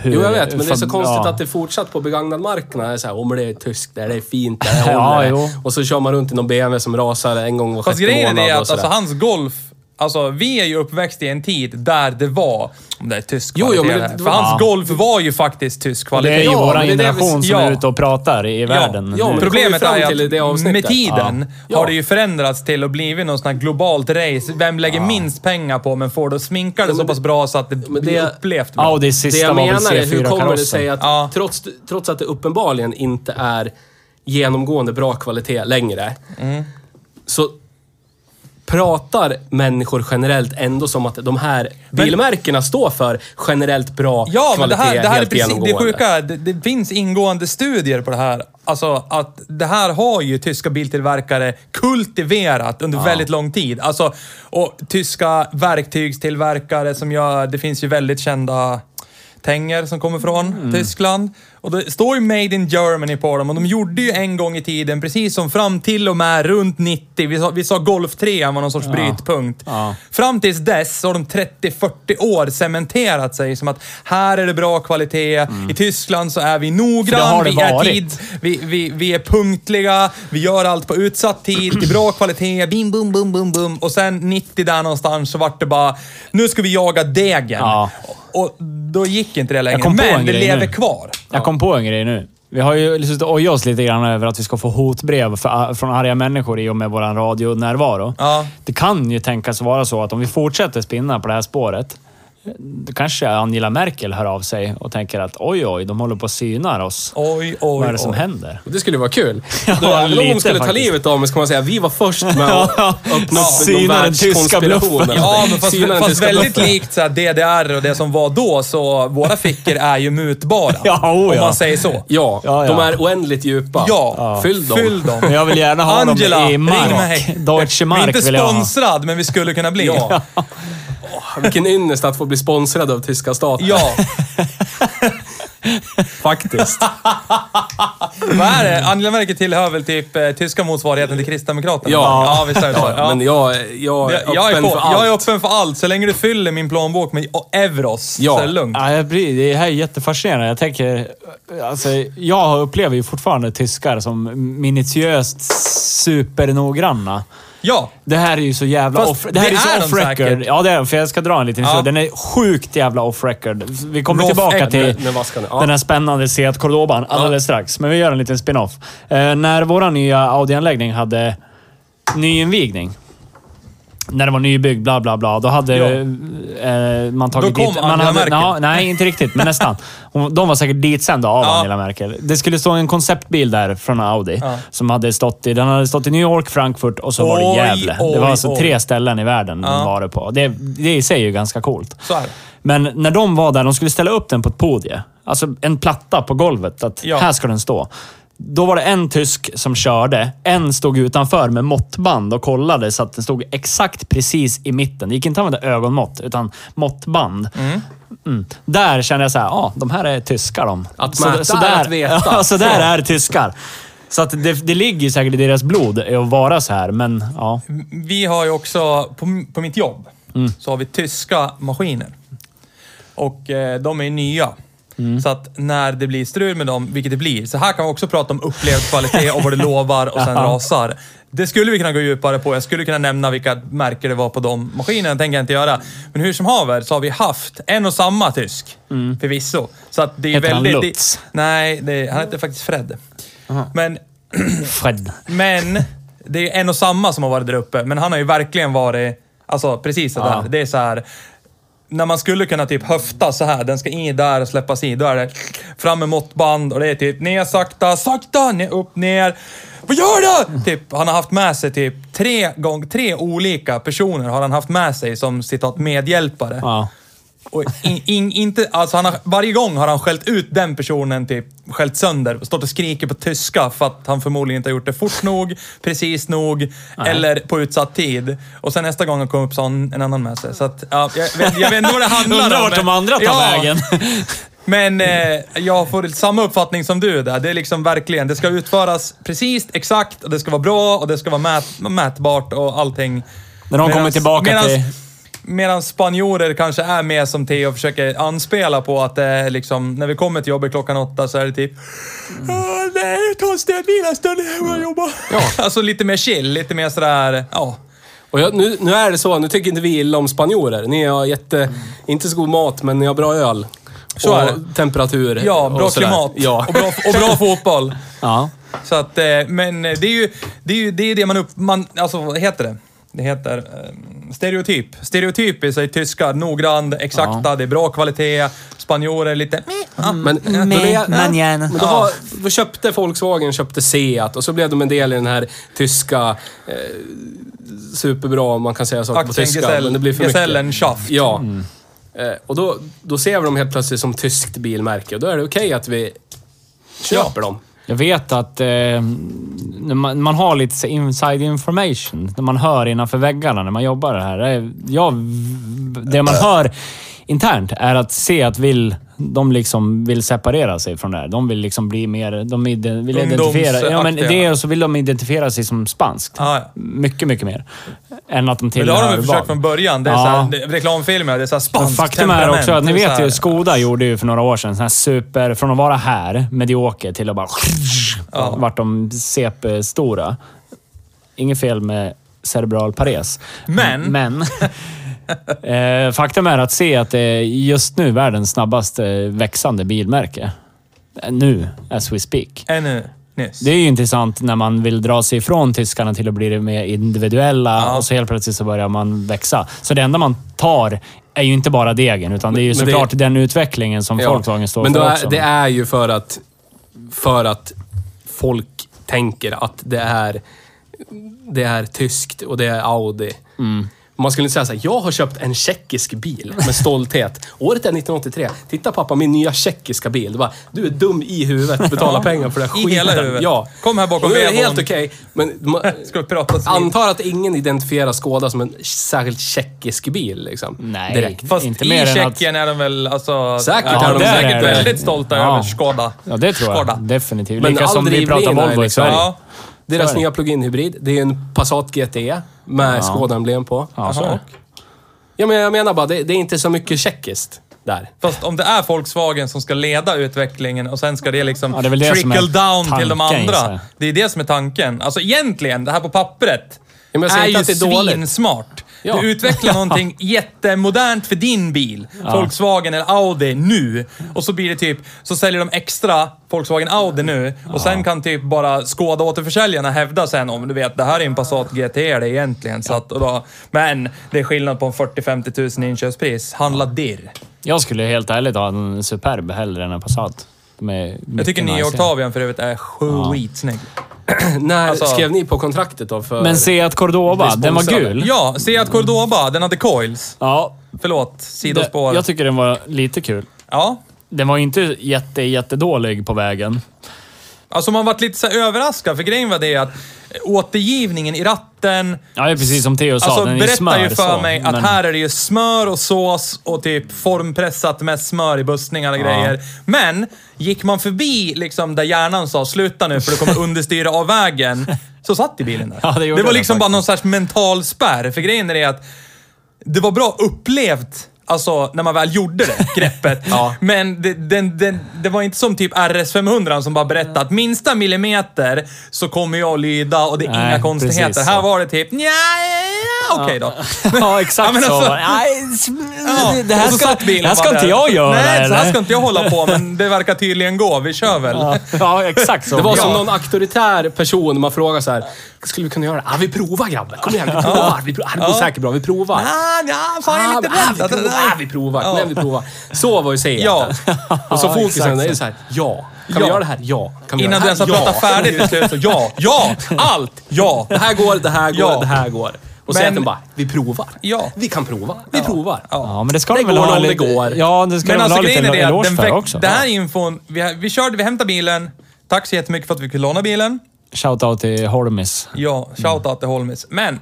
[SPEAKER 1] hur...
[SPEAKER 2] Jo, jag vet, men det är så
[SPEAKER 1] fab-
[SPEAKER 2] konstigt
[SPEAKER 1] ja.
[SPEAKER 2] att det fortsatt på begagnad marknad är så här, om det är tyskt, där det är fint, där det är
[SPEAKER 1] Ja,
[SPEAKER 2] håller det."
[SPEAKER 1] jo.
[SPEAKER 2] Och så kör man runt i någon BMW som rasar en gång var
[SPEAKER 3] Fast
[SPEAKER 2] sjätte
[SPEAKER 3] grejen är
[SPEAKER 2] månad
[SPEAKER 3] det
[SPEAKER 2] och
[SPEAKER 3] att
[SPEAKER 2] sådär.
[SPEAKER 3] alltså, hans golf... Alltså, vi är ju uppväxt i en tid där det var... Om det är tysk
[SPEAKER 2] Jo, jo,
[SPEAKER 3] kvalitet
[SPEAKER 2] men det-
[SPEAKER 3] här.
[SPEAKER 2] det
[SPEAKER 3] För
[SPEAKER 2] var-
[SPEAKER 3] hans
[SPEAKER 1] Ja.
[SPEAKER 3] golf var ju faktiskt tysk
[SPEAKER 1] Det
[SPEAKER 3] kvalitet.
[SPEAKER 1] är ju
[SPEAKER 2] Ja,
[SPEAKER 1] våran
[SPEAKER 2] men det är det vi-
[SPEAKER 1] generation som
[SPEAKER 3] ja.
[SPEAKER 1] är ute och pratar i världen.
[SPEAKER 2] ja,
[SPEAKER 1] nu.
[SPEAKER 2] men-
[SPEAKER 3] Problemet
[SPEAKER 2] kommer vi fram
[SPEAKER 3] är
[SPEAKER 2] till i det
[SPEAKER 3] att
[SPEAKER 2] avsnittet.
[SPEAKER 3] med tiden
[SPEAKER 2] Ja.
[SPEAKER 3] har det ju förändrats till att blivit någon sån här globalt race. Vem lägger minst pengar på, men får det att sminka det
[SPEAKER 2] men
[SPEAKER 3] så
[SPEAKER 2] det-
[SPEAKER 3] pass bra så att det
[SPEAKER 2] men
[SPEAKER 3] blir
[SPEAKER 2] det-
[SPEAKER 3] upplevt bra.
[SPEAKER 1] Audi
[SPEAKER 2] Det
[SPEAKER 1] sista
[SPEAKER 2] jag
[SPEAKER 1] var väl
[SPEAKER 2] menar är, hur kommer det sig
[SPEAKER 1] C4-karossen.
[SPEAKER 2] att
[SPEAKER 3] Ja.
[SPEAKER 2] trots, trots att det uppenbarligen inte är genomgående bra kvalitet längre,
[SPEAKER 3] Mm.
[SPEAKER 2] så pratar människor generellt ändå som att de här bilmärkena står för generellt bra
[SPEAKER 3] Ja, men det
[SPEAKER 2] kvalitet
[SPEAKER 3] här, det här är
[SPEAKER 2] helt
[SPEAKER 3] precis det
[SPEAKER 2] genomgående.
[SPEAKER 3] sjuka. är, Det, det finns ingående studier på det här. Alltså att det här har ju tyska biltillverkare kultiverat under väldigt lång tid. Alltså, och tyska verktygstillverkare som gör, det finns ju väldigt kända tänger som kommer från
[SPEAKER 2] Mm.
[SPEAKER 3] Tyskland. Och det står ju Made in Germany på dem och de gjorde ju en gång i tiden, precis som fram till och med runt 90, vi sa, vi sa Golf 3 var någon sorts brytpunkt.
[SPEAKER 1] Ja.
[SPEAKER 3] Fram tills dess så har de 30-40 år cementerat sig som att här är det bra kvalitet, i Tyskland så är vi
[SPEAKER 1] Mm. För det
[SPEAKER 3] noggrann,
[SPEAKER 1] har det
[SPEAKER 3] vi är
[SPEAKER 1] varit.
[SPEAKER 3] tid, vi, vi, vi är punktliga, vi gör allt på utsatt tid, till bra kvalitet, bim bum bum bum bum. Och sen 90 där någonstans så vart det bara, nu ska vi jaga degen.
[SPEAKER 1] Ja.
[SPEAKER 3] Och då gick inte det längre,
[SPEAKER 1] kom på
[SPEAKER 3] men
[SPEAKER 1] en
[SPEAKER 3] det
[SPEAKER 1] grej
[SPEAKER 3] lever
[SPEAKER 1] nu.
[SPEAKER 3] kvar.
[SPEAKER 1] Jag kom på en grej nu. Vi har ju suttit och ojat oss lite grann över att vi ska få hotbrev för, ah, från arga människor i och med vår radionärvaro.
[SPEAKER 3] Ja.
[SPEAKER 1] Det kan ju tänkas vara så att om vi fortsätter spinna på det här spåret, då kanske Angela Merkel hör av sig och tänker att oj, oj, de håller på och synar oss.
[SPEAKER 3] Oj, oj,
[SPEAKER 1] Vad är det som
[SPEAKER 3] oj.
[SPEAKER 1] händer?
[SPEAKER 2] Det skulle vara kul.
[SPEAKER 1] Ja,
[SPEAKER 2] Då, även om de
[SPEAKER 1] lite
[SPEAKER 2] skulle ta
[SPEAKER 1] faktiskt.
[SPEAKER 2] livet av mig så kan man säga vi var först med att öppna upp någon
[SPEAKER 1] Syna den tyska
[SPEAKER 2] världskonspiration.
[SPEAKER 1] bluffen.
[SPEAKER 2] eller
[SPEAKER 3] Ja,
[SPEAKER 2] någonting.
[SPEAKER 3] men fast,
[SPEAKER 2] Syna den
[SPEAKER 3] fast
[SPEAKER 2] tyska
[SPEAKER 3] väldigt
[SPEAKER 2] bluffen.
[SPEAKER 3] likt så här DDR och det som var då, så våra fickor är ju mutbara.
[SPEAKER 1] Ja, oh,
[SPEAKER 3] Om
[SPEAKER 1] ja.
[SPEAKER 3] man säger så.
[SPEAKER 2] Ja,
[SPEAKER 1] Ja, ja.
[SPEAKER 2] de är oändligt djupa.
[SPEAKER 3] Ja.
[SPEAKER 2] Fyll dem.
[SPEAKER 3] Fyll dem.
[SPEAKER 1] Men jag vill gärna ha
[SPEAKER 3] Angela,
[SPEAKER 1] dem i
[SPEAKER 3] ring
[SPEAKER 1] mark.
[SPEAKER 3] mig.
[SPEAKER 1] Deutsche
[SPEAKER 3] Vi är
[SPEAKER 1] Mark
[SPEAKER 3] inte
[SPEAKER 1] vill jag ha.
[SPEAKER 3] sponsrad, men vi skulle kunna bli.
[SPEAKER 2] Ja. Åh, vilken ynnest att få bli sponsrad av tyska staten.
[SPEAKER 3] Ja.
[SPEAKER 2] faktiskt.
[SPEAKER 3] Vad är det? Angela Merkel tillhör väl typ eh, tyska motsvarigheten till Kristdemokraterna?
[SPEAKER 2] Ja.
[SPEAKER 3] ja visst är det så.
[SPEAKER 2] Ja,
[SPEAKER 3] Ja.
[SPEAKER 2] Men jag, jag är
[SPEAKER 3] Jag,
[SPEAKER 2] öppen
[SPEAKER 3] jag, är på,
[SPEAKER 2] för allt.
[SPEAKER 3] jag är öppen för allt, så länge du fyller min planbok med och euros.
[SPEAKER 2] Ja.
[SPEAKER 3] Så är det lugnt.
[SPEAKER 1] Ja, jag blir, det här är jättefascinerande. Jag tänker... Alltså, jag upplever ju fortfarande tyskar som minutiöst supernoggranna.
[SPEAKER 3] Ja.
[SPEAKER 1] Det här är ju så jävla
[SPEAKER 3] Fast
[SPEAKER 1] off... Det här
[SPEAKER 3] det
[SPEAKER 1] är,
[SPEAKER 3] är
[SPEAKER 1] så
[SPEAKER 3] de
[SPEAKER 1] off record.
[SPEAKER 3] säkert.
[SPEAKER 1] Ja, det är de, för jag ska dra en liten historia.
[SPEAKER 3] Ja.
[SPEAKER 1] Den är sjukt jävla off record. Vi kommer
[SPEAKER 3] Rolf
[SPEAKER 1] tillbaka
[SPEAKER 3] Ebb
[SPEAKER 1] till
[SPEAKER 2] med- med vaskarna. Ja.
[SPEAKER 1] den här spännande Seat Cordoban alldeles strax. Men vi gör en liten spin-off. Eh, när vår nya Audi-anläggning hade nyinvigning. När den var nybyggd, bla bla bla. Då hade
[SPEAKER 3] Ja.
[SPEAKER 1] eh, man tagit
[SPEAKER 3] Då kom
[SPEAKER 1] dit... man
[SPEAKER 3] Angela
[SPEAKER 1] hade,
[SPEAKER 3] Merkel.
[SPEAKER 1] Ja, nej, inte riktigt, men nästan. Hon- De var säkert ditsända av
[SPEAKER 3] Ja.
[SPEAKER 1] Angela Merkel. Det skulle stå en konceptbil där från Audi.
[SPEAKER 3] Ja.
[SPEAKER 1] Som hade stått i, den hade stått i New York, Frankfurt och så var det
[SPEAKER 3] Oj,
[SPEAKER 1] Gävle.
[SPEAKER 3] oj,
[SPEAKER 1] det var alltså
[SPEAKER 3] oj.
[SPEAKER 1] tre ställen i världen de var det på. Det, det i sig är ju ganska coolt.
[SPEAKER 3] Så är det.
[SPEAKER 1] Men när de var där, de skulle ställa upp den på ett podie. Alltså en platta på golvet. Att
[SPEAKER 3] Ja.
[SPEAKER 1] här ska den stå. Då var det en tysk som körde. En stod utanför med måttband och kollade så att den stod exakt precis i mitten. Det gick inte att använda ögonmått, utan måttband. Mm. Där kände jag så här, ja, ah, de här är tyskar de.
[SPEAKER 2] Att mäta är att veta.
[SPEAKER 1] Ja, så där
[SPEAKER 2] Ja.
[SPEAKER 1] är tyskar. Så att det, det ligger säkert i deras blod att vara så här, men ja.
[SPEAKER 2] Mm.
[SPEAKER 3] Vi har ju också, på, på mitt jobb,
[SPEAKER 1] Mm.
[SPEAKER 3] så har vi tyska maskiner. Och eh, de är ju nya.
[SPEAKER 1] Mm.
[SPEAKER 3] Så att när det blir strul med dem, vilket det blir, så här kan vi också prata om upplevd kvalitet och vad det lovar och sen rasar. Det skulle vi kunna gå djupare på. Jag skulle kunna nämna vilka märken det var på de maskinerna. Det tänker jag inte göra. Men hur som haver så har vi haft en och samma tysk. Förvisso. Så att det är
[SPEAKER 1] Mm. Heter han
[SPEAKER 3] väldigt...
[SPEAKER 1] Lutz?
[SPEAKER 3] Nej, det, han heter faktiskt Fred. Men
[SPEAKER 1] Fred.
[SPEAKER 3] men det är en och samma som har varit där uppe. Men han har ju verkligen varit, alltså precis det där.
[SPEAKER 1] Ja.
[SPEAKER 3] Det är så här. när man skulle kunna typ höfta så här, den ska in där och släppas i, då är det fram med måttband och det är typ ner sakta, sakta, ner, upp, ner. Vad gör du? Typ, han har haft med sig typ tre, gång, tre olika personer har han haft med sig som citat medhjälpare.
[SPEAKER 1] Ja.
[SPEAKER 3] Och in, in, inte, alltså han har, varje gång har han skällt ut den personen, typ skällt sönder. Stått och skriker på tyska för att han förmodligen inte har gjort det fort nog, precis nog eller på utsatt tid. Och sen nästa gång han kom upp så har han en annan med sig. Så att, ja, jag, vet, jag vet inte vad det handlar om.
[SPEAKER 1] Undrar vart de
[SPEAKER 3] men-
[SPEAKER 1] andra tar
[SPEAKER 3] Ja,
[SPEAKER 1] vägen.
[SPEAKER 3] Men eh, jag får samma uppfattning som du där. Det är liksom verkligen, det ska utföras precis, exakt och det ska vara bra och det ska vara mät, mätbart och allting.
[SPEAKER 1] När de
[SPEAKER 3] Medans-
[SPEAKER 1] kommer tillbaka till...
[SPEAKER 3] Medan spanjorer kanske är med som Theo och försöker anspela på att det är liksom, när vi kommer till jobbet klockan åtta så är det typ
[SPEAKER 1] Mm.
[SPEAKER 3] "Ah, Nej, ta en stöd, vila en stund, jag går och jobbar. Alltså lite mer chill, lite mer sådär, ja.
[SPEAKER 2] Och jag, nu, nu är det så, nu tycker inte vi illa om spanjorer. Ni har jätte, inte så god mat, men ni har bra öl.
[SPEAKER 3] Så
[SPEAKER 2] och
[SPEAKER 3] är det.
[SPEAKER 2] temperatur.
[SPEAKER 3] Ja, bra
[SPEAKER 2] och sådär.
[SPEAKER 3] klimat
[SPEAKER 2] Ja.
[SPEAKER 3] och, bra, och bra fotboll.
[SPEAKER 1] Ja.
[SPEAKER 3] Så att, eh, men eh, det är ju det, är ju, det, är det man upp... Man, alltså vad heter det? Det heter eh, stereotyp. Stereotyp är så i tyska, noggrann, exakta, det är bra kvalitet. Spanjorer är lite... Ja.
[SPEAKER 2] Men,
[SPEAKER 1] Mm,
[SPEAKER 2] då det-
[SPEAKER 1] men gärna.
[SPEAKER 2] men då, har, då köpte Volkswagen, köpte Seat och så blev de en del i den här tyska... Eh, superbra om man kan säga saker på
[SPEAKER 3] Aktien
[SPEAKER 2] tyska. men det blir för mycket.
[SPEAKER 3] Gesellen Schaft.
[SPEAKER 2] Ja. Eh, och då, då ser vi dem helt plötsligt som tyskt bilmärke och då är det okej att vi köper dem.
[SPEAKER 1] Jag vet att eh, när man, man har lite så inside information. När man hör innanför väggarna när man jobbar här. Eh, Jag, det man hör internt är att se att vill, de liksom vill separera sig från det här. De vill liksom bli mer... De ide- vill identifiera, ja, men
[SPEAKER 3] Ungdomsaktiga.
[SPEAKER 1] det och så vill de identifiera sig som spanskt.
[SPEAKER 3] Ja, ja.
[SPEAKER 1] Mycket, mycket mer. Än att de
[SPEAKER 3] Men det har
[SPEAKER 1] tillhör
[SPEAKER 3] de väl försökt från början. Det är
[SPEAKER 1] Ja.
[SPEAKER 3] såhär, det, reklamfilmer, det är såhär
[SPEAKER 1] Men
[SPEAKER 3] spanskt
[SPEAKER 1] Faktum är också att ni
[SPEAKER 3] temperament. Det
[SPEAKER 1] vet
[SPEAKER 3] är
[SPEAKER 1] ju,
[SPEAKER 3] så här-
[SPEAKER 1] Skoda gjorde ju för några år sedan sån här super... Från att vara här, medioker, till att bara... Vart de CP-stora. Inget fel med cerebral pares.
[SPEAKER 3] Men-
[SPEAKER 1] Men... eh, faktum är att se att det är just nu världens snabbast eh, växande bilmärke. Eh, Nu, as we speak.
[SPEAKER 3] Ännu nyss.
[SPEAKER 1] Det är ju intressant när man vill dra sig ifrån tyskarna till att bli det mer individuella
[SPEAKER 3] Ja.
[SPEAKER 1] och så helt plötsligt så börjar man växa. Så det enda man tar är ju inte bara degen, utan det är ju
[SPEAKER 2] Men det-
[SPEAKER 1] såklart den utvecklingen som
[SPEAKER 2] Ja,
[SPEAKER 1] Volkswagen står
[SPEAKER 2] Men då
[SPEAKER 1] för
[SPEAKER 2] är,
[SPEAKER 1] också.
[SPEAKER 2] det är ju för att, för att folk tänker att det är, det är tyskt och det är Audi.
[SPEAKER 3] Mm.
[SPEAKER 2] Man skulle inte säga såhär, jag har köpt en tjeckisk bil med stolthet. Året är 1983. Titta pappa, min nya tjeckiska bil. Du, bara, du är dum i huvudet, betala pengar för den
[SPEAKER 3] I hela huvudet.
[SPEAKER 2] Ja.
[SPEAKER 3] Kom här bakom
[SPEAKER 2] Och nu är det
[SPEAKER 3] vevon.
[SPEAKER 2] helt okej. Men man,
[SPEAKER 3] Ska vi prata så
[SPEAKER 2] antar att ingen identifierar Skoda som en särskilt tjeckisk bil liksom.
[SPEAKER 1] Nej.
[SPEAKER 2] Direkt.
[SPEAKER 3] Fast
[SPEAKER 1] Inte
[SPEAKER 3] i
[SPEAKER 1] mer än att-
[SPEAKER 3] Tjeckien är de väl alltså...
[SPEAKER 2] Säkert
[SPEAKER 3] ja,
[SPEAKER 2] har
[SPEAKER 3] de
[SPEAKER 2] de
[SPEAKER 3] är
[SPEAKER 2] det.
[SPEAKER 3] säkert
[SPEAKER 1] är det.
[SPEAKER 3] väldigt stolta
[SPEAKER 1] Ja.
[SPEAKER 3] över Skoda.
[SPEAKER 1] Ja, det tror jag.
[SPEAKER 3] Skoda.
[SPEAKER 1] Definitivt.
[SPEAKER 2] Men
[SPEAKER 1] Lika som
[SPEAKER 2] all
[SPEAKER 1] vi pratar
[SPEAKER 2] drivlina är
[SPEAKER 1] Volvo i
[SPEAKER 2] liksom-
[SPEAKER 1] Sverige.
[SPEAKER 3] Ja.
[SPEAKER 1] Så
[SPEAKER 2] Deras
[SPEAKER 1] är det.
[SPEAKER 2] nya plug-in hybrid, det är en Passat GTE med Skoda-emblem på.
[SPEAKER 1] Ja, så är det.
[SPEAKER 2] Ja, men jag menar bara, det, det är inte så mycket tjeckiskt där.
[SPEAKER 3] Fast om det är Volkswagen som ska leda utvecklingen och sen ska det liksom
[SPEAKER 1] Ja, det är väl det som är
[SPEAKER 3] trickle down till de
[SPEAKER 1] tanken, gissar jag.
[SPEAKER 3] andra. Det är det som är tanken. Alltså egentligen, det här på pappret
[SPEAKER 2] Ja, men jag säger
[SPEAKER 3] är ju
[SPEAKER 2] inte att det är dåligt.
[SPEAKER 3] svinsmart.
[SPEAKER 2] Ja.
[SPEAKER 3] Du utvecklar någonting jättemodernt för din bil, Volkswagen eller Audi, nu. Och så blir det typ, så säljer de extra Volkswagen Audi nu. Och sen kan typ bara skåda återförsäljarna hävda sen om du vet, det här är en Passat GT det är egentligen. Så att, och då, men det är skillnad på en 40-50 tusen i inköpspris. Handla dirr.
[SPEAKER 1] Jag skulle helt ärligt ha en Superb hellre än en Passat. De är
[SPEAKER 3] Jag
[SPEAKER 1] mycket
[SPEAKER 3] tycker nya
[SPEAKER 1] najsigare.
[SPEAKER 3] Octavian för övrigt är skitsnygg.
[SPEAKER 2] När
[SPEAKER 3] Alltså-
[SPEAKER 2] skrev ni på kontraktet då? För,
[SPEAKER 1] Men se att Cordoba,
[SPEAKER 2] Vi
[SPEAKER 1] den var
[SPEAKER 2] sponsrade.
[SPEAKER 1] gul.
[SPEAKER 3] Ja, Seat Cordoba, den hade coils.
[SPEAKER 1] Ja,
[SPEAKER 3] Förlåt,
[SPEAKER 1] det,
[SPEAKER 3] sidospår.
[SPEAKER 1] jag tycker den var lite kul.
[SPEAKER 3] Ja.
[SPEAKER 1] Den var ju inte jätte, jättedålig på vägen.
[SPEAKER 3] Alltså man varit lite så här överraskad, för grejen var det att återgivningen i ratten...
[SPEAKER 1] Ja, det är precis som Theo sa.
[SPEAKER 3] Alltså
[SPEAKER 1] den är
[SPEAKER 3] berättar
[SPEAKER 1] smör,
[SPEAKER 3] ju för
[SPEAKER 1] så,
[SPEAKER 3] mig att
[SPEAKER 1] men-
[SPEAKER 3] här är det ju smör och sås och typ formpressat med smör i bussningar och grejer. Men gick man förbi liksom där hjärnan sa sluta nu för du kommer understyra av vägen, så satt i bilen där.
[SPEAKER 1] Ja, det gjorde
[SPEAKER 3] var
[SPEAKER 1] den
[SPEAKER 3] liksom bara
[SPEAKER 1] faktiskt.
[SPEAKER 3] någon slags mental spärr. För grejen är det att det var bra upplevt, alltså när man väl gjorde det greppet. Men det, den, den, det var inte som typ RS500 som bara berättade att minsta millimeter så kommer jag att lyda och det är
[SPEAKER 1] Nej,
[SPEAKER 3] inga konstigheter.
[SPEAKER 1] precis så.
[SPEAKER 3] Här var det typ nja, ja, okej då.
[SPEAKER 1] Ja, exakt
[SPEAKER 3] Ja, men
[SPEAKER 1] så.
[SPEAKER 3] alltså-
[SPEAKER 1] Nej, s-
[SPEAKER 3] Ja,
[SPEAKER 1] det här
[SPEAKER 3] och så
[SPEAKER 1] ska,
[SPEAKER 3] satt bilen
[SPEAKER 1] det här ska
[SPEAKER 3] bara
[SPEAKER 1] inte
[SPEAKER 3] där.
[SPEAKER 1] jag göra.
[SPEAKER 3] Nej, så här
[SPEAKER 1] eller?
[SPEAKER 3] ska inte jag hålla på, men det verkar tydligen gå. Vi kör väl.
[SPEAKER 1] Ja, ja, exakt så.
[SPEAKER 2] det var
[SPEAKER 1] ja.
[SPEAKER 2] som någon auktoritär person man frågar så här. skulle vi kunna göra det? Ah, vi provar grabbar. Kom igen, vi provar. Vi provar. Ah, det går säkert bra, vi provar.
[SPEAKER 3] Ah, ja, fan jag är lite
[SPEAKER 2] Ah,
[SPEAKER 3] rädd.
[SPEAKER 2] vi
[SPEAKER 3] att-
[SPEAKER 2] provar. ah, vi provar,
[SPEAKER 3] Ja.
[SPEAKER 2] nej vi provar. Så var ju säget.
[SPEAKER 3] Ja.
[SPEAKER 2] Och så
[SPEAKER 1] Ja, exakt
[SPEAKER 2] fokusen är ju
[SPEAKER 1] så.
[SPEAKER 2] så här, ja. Kan vi
[SPEAKER 3] Ja.
[SPEAKER 2] göra det här? Ja. Kan vi
[SPEAKER 3] Innan du
[SPEAKER 2] göra
[SPEAKER 3] ens
[SPEAKER 2] det
[SPEAKER 3] har
[SPEAKER 2] här?
[SPEAKER 3] pratat
[SPEAKER 2] ja.
[SPEAKER 3] färdigt till slut så ja, ja, allt, ja.
[SPEAKER 2] Det här går, det här går,
[SPEAKER 3] Ja.
[SPEAKER 2] det här går. Och så
[SPEAKER 3] Men-
[SPEAKER 2] säger den bara, vi provar.
[SPEAKER 3] Ja.
[SPEAKER 2] Vi kan prova. Vi provar.
[SPEAKER 1] Ja, men det ska
[SPEAKER 2] Det
[SPEAKER 1] de väl
[SPEAKER 2] går
[SPEAKER 1] ha
[SPEAKER 2] om det
[SPEAKER 1] lite...
[SPEAKER 2] går.
[SPEAKER 1] Ja, det ska
[SPEAKER 3] Men
[SPEAKER 1] de väl
[SPEAKER 3] alltså
[SPEAKER 1] ha lite
[SPEAKER 3] grejen är det
[SPEAKER 1] eloge
[SPEAKER 3] att den
[SPEAKER 1] för
[SPEAKER 3] fick,
[SPEAKER 1] också.
[SPEAKER 3] den här infon, vi, vi körde, vi hämtade bilen. Tack så jättemycket för att vi kunde låna bilen.
[SPEAKER 1] Shoutout till Holmis.
[SPEAKER 3] Ja, shoutout till Holmis. Men,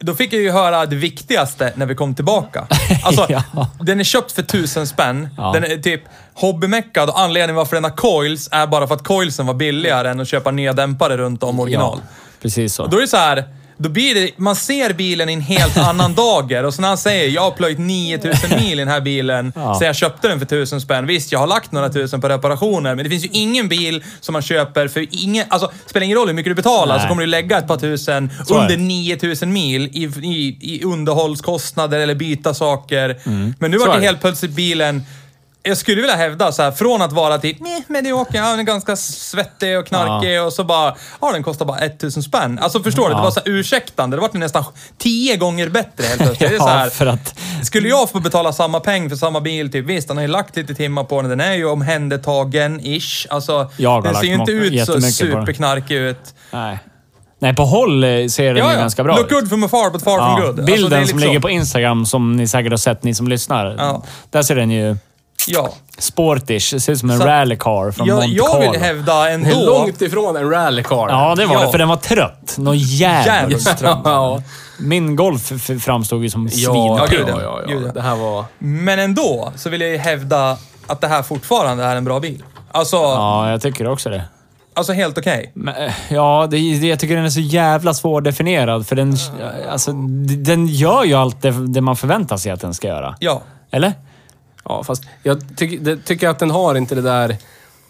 [SPEAKER 3] då fick jag ju höra det viktigaste när vi kom tillbaka. Alltså,
[SPEAKER 1] Ja.
[SPEAKER 3] den är köpt för tusen spänn.
[SPEAKER 1] Ja.
[SPEAKER 3] Den är typ hobbymeckad och anledningen varför den har coils är bara för att coilsen var billigare än att köpa nya dämpare runt om original.
[SPEAKER 1] precis så.
[SPEAKER 3] Och då är det så här, då blir det, man ser bilen i en helt annan dager. Och så när han säger, jag har plöjt 9000 mil i den här bilen,
[SPEAKER 1] Ja.
[SPEAKER 3] så jag köpte den för 1000 spänn. Visst, jag har lagt några tusen på reparationer, men det finns ju ingen bil som man köper för ingen, alltså spelar ingen roll hur mycket du betalar,
[SPEAKER 1] Nej.
[SPEAKER 3] så kommer du lägga ett par tusen
[SPEAKER 1] Så är
[SPEAKER 3] under
[SPEAKER 1] det.
[SPEAKER 3] 9000 mil i, i, i underhållskostnader eller byta saker.
[SPEAKER 1] Mm.
[SPEAKER 3] Men nu
[SPEAKER 2] Så
[SPEAKER 3] var
[SPEAKER 2] är
[SPEAKER 3] det
[SPEAKER 2] det.
[SPEAKER 3] helt plötsligt bilen, jag skulle vilja hävda så här, från att vara typ meh, medioker, ja, den är ganska svettig och knarkig och så bara, ja den kostar bara 1000 spänn. Alltså förstår du? Det
[SPEAKER 1] Ja.
[SPEAKER 3] var så här ursäktande. Det var nästan tio gånger bättre helt plötsligt. det är så
[SPEAKER 1] Ja,
[SPEAKER 3] här,
[SPEAKER 1] för att...
[SPEAKER 3] Skulle jag få betala samma peng för samma bil, typ, visst han har ju lagt lite timmar på den, den är ju omhändertagen-ish. Alltså,
[SPEAKER 1] Jag har
[SPEAKER 3] den ser ju
[SPEAKER 1] lagt
[SPEAKER 3] inte
[SPEAKER 1] många-
[SPEAKER 3] ut så
[SPEAKER 1] jättemycket på den.
[SPEAKER 3] superknarkig ut.
[SPEAKER 1] Nej. Nej, på håll eh, ser den ju ganska bra
[SPEAKER 3] Look
[SPEAKER 1] ut.
[SPEAKER 3] good from afar, but far from
[SPEAKER 1] Ja,
[SPEAKER 3] good. Alltså,
[SPEAKER 1] bilden
[SPEAKER 3] det är lite
[SPEAKER 1] som
[SPEAKER 3] så.
[SPEAKER 1] ligger på Instagram, som ni säkert har sett, ni som lyssnar.
[SPEAKER 3] Ja.
[SPEAKER 1] Där ser den ju
[SPEAKER 3] Ja.
[SPEAKER 1] sportish Ser ut som en
[SPEAKER 3] Så-
[SPEAKER 1] rallycar från
[SPEAKER 3] Jag,
[SPEAKER 1] Monte
[SPEAKER 3] jag
[SPEAKER 1] Carlo.
[SPEAKER 3] vill hävda
[SPEAKER 2] Det är
[SPEAKER 3] ändå...
[SPEAKER 2] långt ifrån en rallycar.
[SPEAKER 1] Ja, det var
[SPEAKER 3] Ja.
[SPEAKER 1] det. För den var trött. Någon jävla
[SPEAKER 3] Jävligt.
[SPEAKER 1] ström.
[SPEAKER 2] ja.
[SPEAKER 1] Min golf f- framstod ju som
[SPEAKER 2] Ja,
[SPEAKER 1] svinpigg.
[SPEAKER 3] gud,
[SPEAKER 2] ja, ja, ja.
[SPEAKER 3] Gud, ja.
[SPEAKER 2] Det här var...
[SPEAKER 3] Men ändå så vill jag ju hävda att det här fortfarande är en bra bil. Alltså,
[SPEAKER 1] Ja, jag tycker också det.
[SPEAKER 3] alltså helt okej.
[SPEAKER 1] Men, eh, ja, det, det- jag tycker den är så jävla svårdefinierad. För den, alltså, d- den gör ju allt det, det man förväntar sig att den ska göra.
[SPEAKER 3] Ja.
[SPEAKER 1] Eller?
[SPEAKER 2] Ja, fast jag tycker- det- tycker att den har inte det där...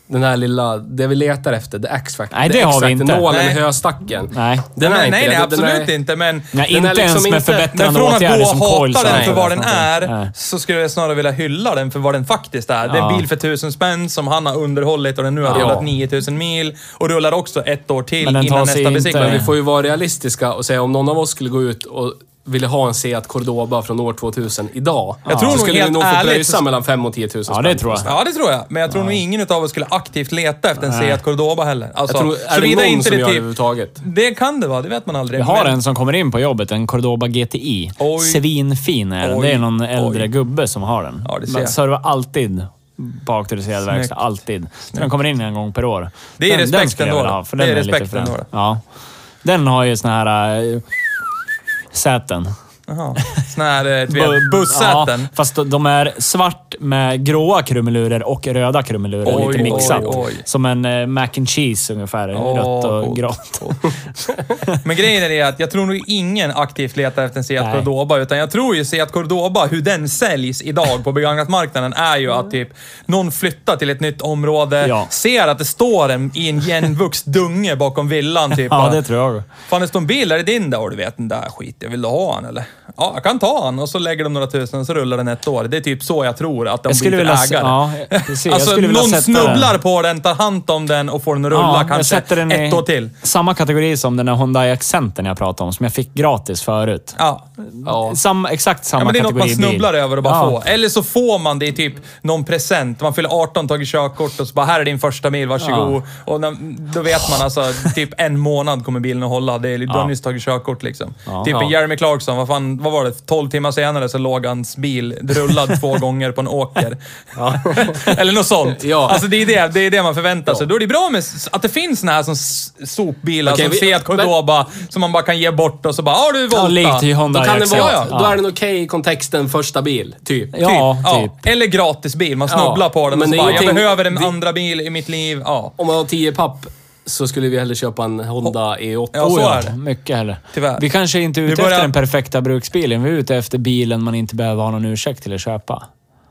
[SPEAKER 2] Den här lilla, det vi letar efter, the X-Factor.
[SPEAKER 1] Nej,
[SPEAKER 2] The
[SPEAKER 1] det har vi
[SPEAKER 2] X-Factor,
[SPEAKER 1] inte.
[SPEAKER 2] Nålen i
[SPEAKER 3] Nej.
[SPEAKER 2] höstacken.
[SPEAKER 1] Nej.
[SPEAKER 2] Den är
[SPEAKER 3] nej,
[SPEAKER 2] inte
[SPEAKER 3] nej, nej,
[SPEAKER 2] det. Den
[SPEAKER 3] absolut
[SPEAKER 2] är-
[SPEAKER 3] inte. Men,
[SPEAKER 1] Nej,
[SPEAKER 2] Den är
[SPEAKER 1] inte
[SPEAKER 2] liksom
[SPEAKER 1] ens med
[SPEAKER 2] inte-
[SPEAKER 3] men
[SPEAKER 1] förbättrande
[SPEAKER 3] från att
[SPEAKER 1] åtgärder
[SPEAKER 3] gå och
[SPEAKER 1] som
[SPEAKER 3] hata
[SPEAKER 1] coilsen.
[SPEAKER 3] den
[SPEAKER 2] nej,
[SPEAKER 3] för vad den är,
[SPEAKER 1] Nej.
[SPEAKER 3] så skulle jag snarare vilja hylla den för vad den faktiskt är. Det är en
[SPEAKER 1] Ja.
[SPEAKER 3] bil för tusen spänn som han har underhållit och den nu har
[SPEAKER 2] Ja.
[SPEAKER 3] rullat 9000 mil och rullar också ett år till
[SPEAKER 1] Men den
[SPEAKER 3] innan
[SPEAKER 1] tar sig
[SPEAKER 3] nästa
[SPEAKER 1] inte-
[SPEAKER 2] Men vi
[SPEAKER 3] besiktning.
[SPEAKER 2] får ju vara realistiska och säga om någon av oss skulle gå ut och ville ha en Seat Cordoba från år 2000 idag.
[SPEAKER 3] Jag tror
[SPEAKER 2] så
[SPEAKER 3] nog
[SPEAKER 2] skulle vi
[SPEAKER 3] helt
[SPEAKER 2] nog få
[SPEAKER 3] ärligt
[SPEAKER 2] pröjsa
[SPEAKER 3] så-
[SPEAKER 2] mellan 5 och 10 000
[SPEAKER 1] Ja, det tror jag.
[SPEAKER 3] Ja, det tror jag. Men jag tror nog ingen utav oss skulle aktivt leta efter en Seat Cordoba heller. Alltså,
[SPEAKER 2] Jag tror, är det
[SPEAKER 3] såvida
[SPEAKER 2] någon som gör det
[SPEAKER 3] typ-
[SPEAKER 2] överhuvudtaget?
[SPEAKER 3] Det kan det vara, det vet man aldrig.
[SPEAKER 1] Vi har
[SPEAKER 3] Men-
[SPEAKER 1] en som kommer in på jobbet, en Cordoba GTI.
[SPEAKER 3] Oj.
[SPEAKER 1] Svinfin är den. Det är någon
[SPEAKER 3] Oj.
[SPEAKER 1] äldre
[SPEAKER 3] Oj.
[SPEAKER 1] gubbe som har den.
[SPEAKER 3] Ja, det ser
[SPEAKER 1] Men
[SPEAKER 3] jag.
[SPEAKER 1] servar alltid på auktoriserad verkstad. Alltid. Så den kommer in en gång per år.
[SPEAKER 3] Det är
[SPEAKER 1] den,
[SPEAKER 3] respekt
[SPEAKER 1] skulle jag
[SPEAKER 3] ändå
[SPEAKER 1] vilja
[SPEAKER 3] då.
[SPEAKER 1] ha, för
[SPEAKER 3] Det
[SPEAKER 1] den
[SPEAKER 3] är
[SPEAKER 1] lite
[SPEAKER 3] respekt
[SPEAKER 1] frän.
[SPEAKER 3] ändå då.
[SPEAKER 1] Ja. Den har ju såna här äh, säten.
[SPEAKER 3] Jaha. Såna här eh, du
[SPEAKER 1] Bu-
[SPEAKER 3] vet, bussäten.
[SPEAKER 1] Ja, fast de- de är svart med gråa krumelurer och röda krumelurer.
[SPEAKER 3] Oj,
[SPEAKER 1] lite mixat.
[SPEAKER 3] oj, oj.
[SPEAKER 1] Som en eh, mac and cheese ungefär.
[SPEAKER 3] Åh,
[SPEAKER 1] rött och
[SPEAKER 3] coolt.
[SPEAKER 1] grått.
[SPEAKER 3] Men grejen är det att jag tror nog ingen aktivt letar efter en Seat
[SPEAKER 1] Nej.
[SPEAKER 3] Cordoba, utan jag tror ju Seat Cordoba, hur den säljs idag på begagnatmarknaden, är ju att typ någon flyttar till ett nytt område,
[SPEAKER 1] Ja.
[SPEAKER 3] ser att det står en i en igenvuxen dunge bakom villan. Typ,
[SPEAKER 1] Ja,
[SPEAKER 3] bara,
[SPEAKER 1] det tror jag.
[SPEAKER 3] Fan, det står en bil, är det din där? Och du vet, den där skiten, vill du ha han eller? Ja, jag kan ta han. Och så lägger de några tusen och så rullar den ett år. Det är typ så jag tror att de
[SPEAKER 1] Jag skulle
[SPEAKER 3] byter
[SPEAKER 1] vilja
[SPEAKER 3] ägare.
[SPEAKER 1] se- ja, precis. Jag
[SPEAKER 3] alltså,
[SPEAKER 1] skulle vilja
[SPEAKER 3] någon
[SPEAKER 1] sätta
[SPEAKER 3] snubblar på den, tar hand om den och får den att rulla
[SPEAKER 1] jag
[SPEAKER 3] kanske
[SPEAKER 1] sätter den
[SPEAKER 3] ett
[SPEAKER 1] i
[SPEAKER 3] år till.
[SPEAKER 1] Samma kategori som den där Hyundai Accenten jag pratade om, som jag fick gratis förut.
[SPEAKER 3] Ja.
[SPEAKER 2] Ja.
[SPEAKER 1] Sam, exakt samma
[SPEAKER 3] Ja, men det är något
[SPEAKER 1] kategori
[SPEAKER 3] man snubblar
[SPEAKER 1] bil.
[SPEAKER 3] över och bara
[SPEAKER 1] ja.
[SPEAKER 3] får. Eller så får man det i typ någon present. Man fyller 18, tagit körkort och så bara, här är din första mil, varsågod. Och när, då vet man alltså, typ en månad kommer bilen att hålla. Det är, du har nyss tagit körkort liksom. typ
[SPEAKER 2] Ja.
[SPEAKER 3] Jeremy Clarkson, vad, fan, vad var det? 12 timmar senare så låg hans bil rullad två gånger på en åker. Eller något sånt.
[SPEAKER 2] Ja.
[SPEAKER 3] Alltså det är det, det är det man förväntar sig. Då är det bra med s- att det finns såna här som s- sopbilar
[SPEAKER 2] Okej,
[SPEAKER 3] som
[SPEAKER 2] vi-
[SPEAKER 3] Seat
[SPEAKER 2] men-
[SPEAKER 3] Cordoba som man bara kan ge bort och så bara, har du volta?
[SPEAKER 1] likt i Honda
[SPEAKER 2] Då, kan det
[SPEAKER 1] Accent.
[SPEAKER 2] vara,
[SPEAKER 3] Ja,
[SPEAKER 1] ja.
[SPEAKER 2] då är den okej i kontexten första bil, typ.
[SPEAKER 1] Ja,
[SPEAKER 3] Ja,
[SPEAKER 1] typ.
[SPEAKER 3] Eller gratis bil. Man snubblar
[SPEAKER 2] Ja,
[SPEAKER 3] på den
[SPEAKER 2] men
[SPEAKER 3] och så
[SPEAKER 2] det är
[SPEAKER 3] bara, jag
[SPEAKER 2] ingenting-
[SPEAKER 3] behöver en
[SPEAKER 2] det-
[SPEAKER 3] andra bil i mitt liv. Ja,
[SPEAKER 2] Om man har 10 papp så skulle vi hellre köpa en Honda E E8.
[SPEAKER 3] Ja, så
[SPEAKER 1] Oh,
[SPEAKER 3] är
[SPEAKER 1] ja,
[SPEAKER 3] det.
[SPEAKER 1] mycket heller.
[SPEAKER 3] Tyvärr.
[SPEAKER 1] Vi kanske inte är
[SPEAKER 3] Vi
[SPEAKER 1] ute
[SPEAKER 3] börjar-
[SPEAKER 1] efter den perfekta bruksbilen. Vi är ute efter bilen man inte behöver ha någon ursäkt till att köpa.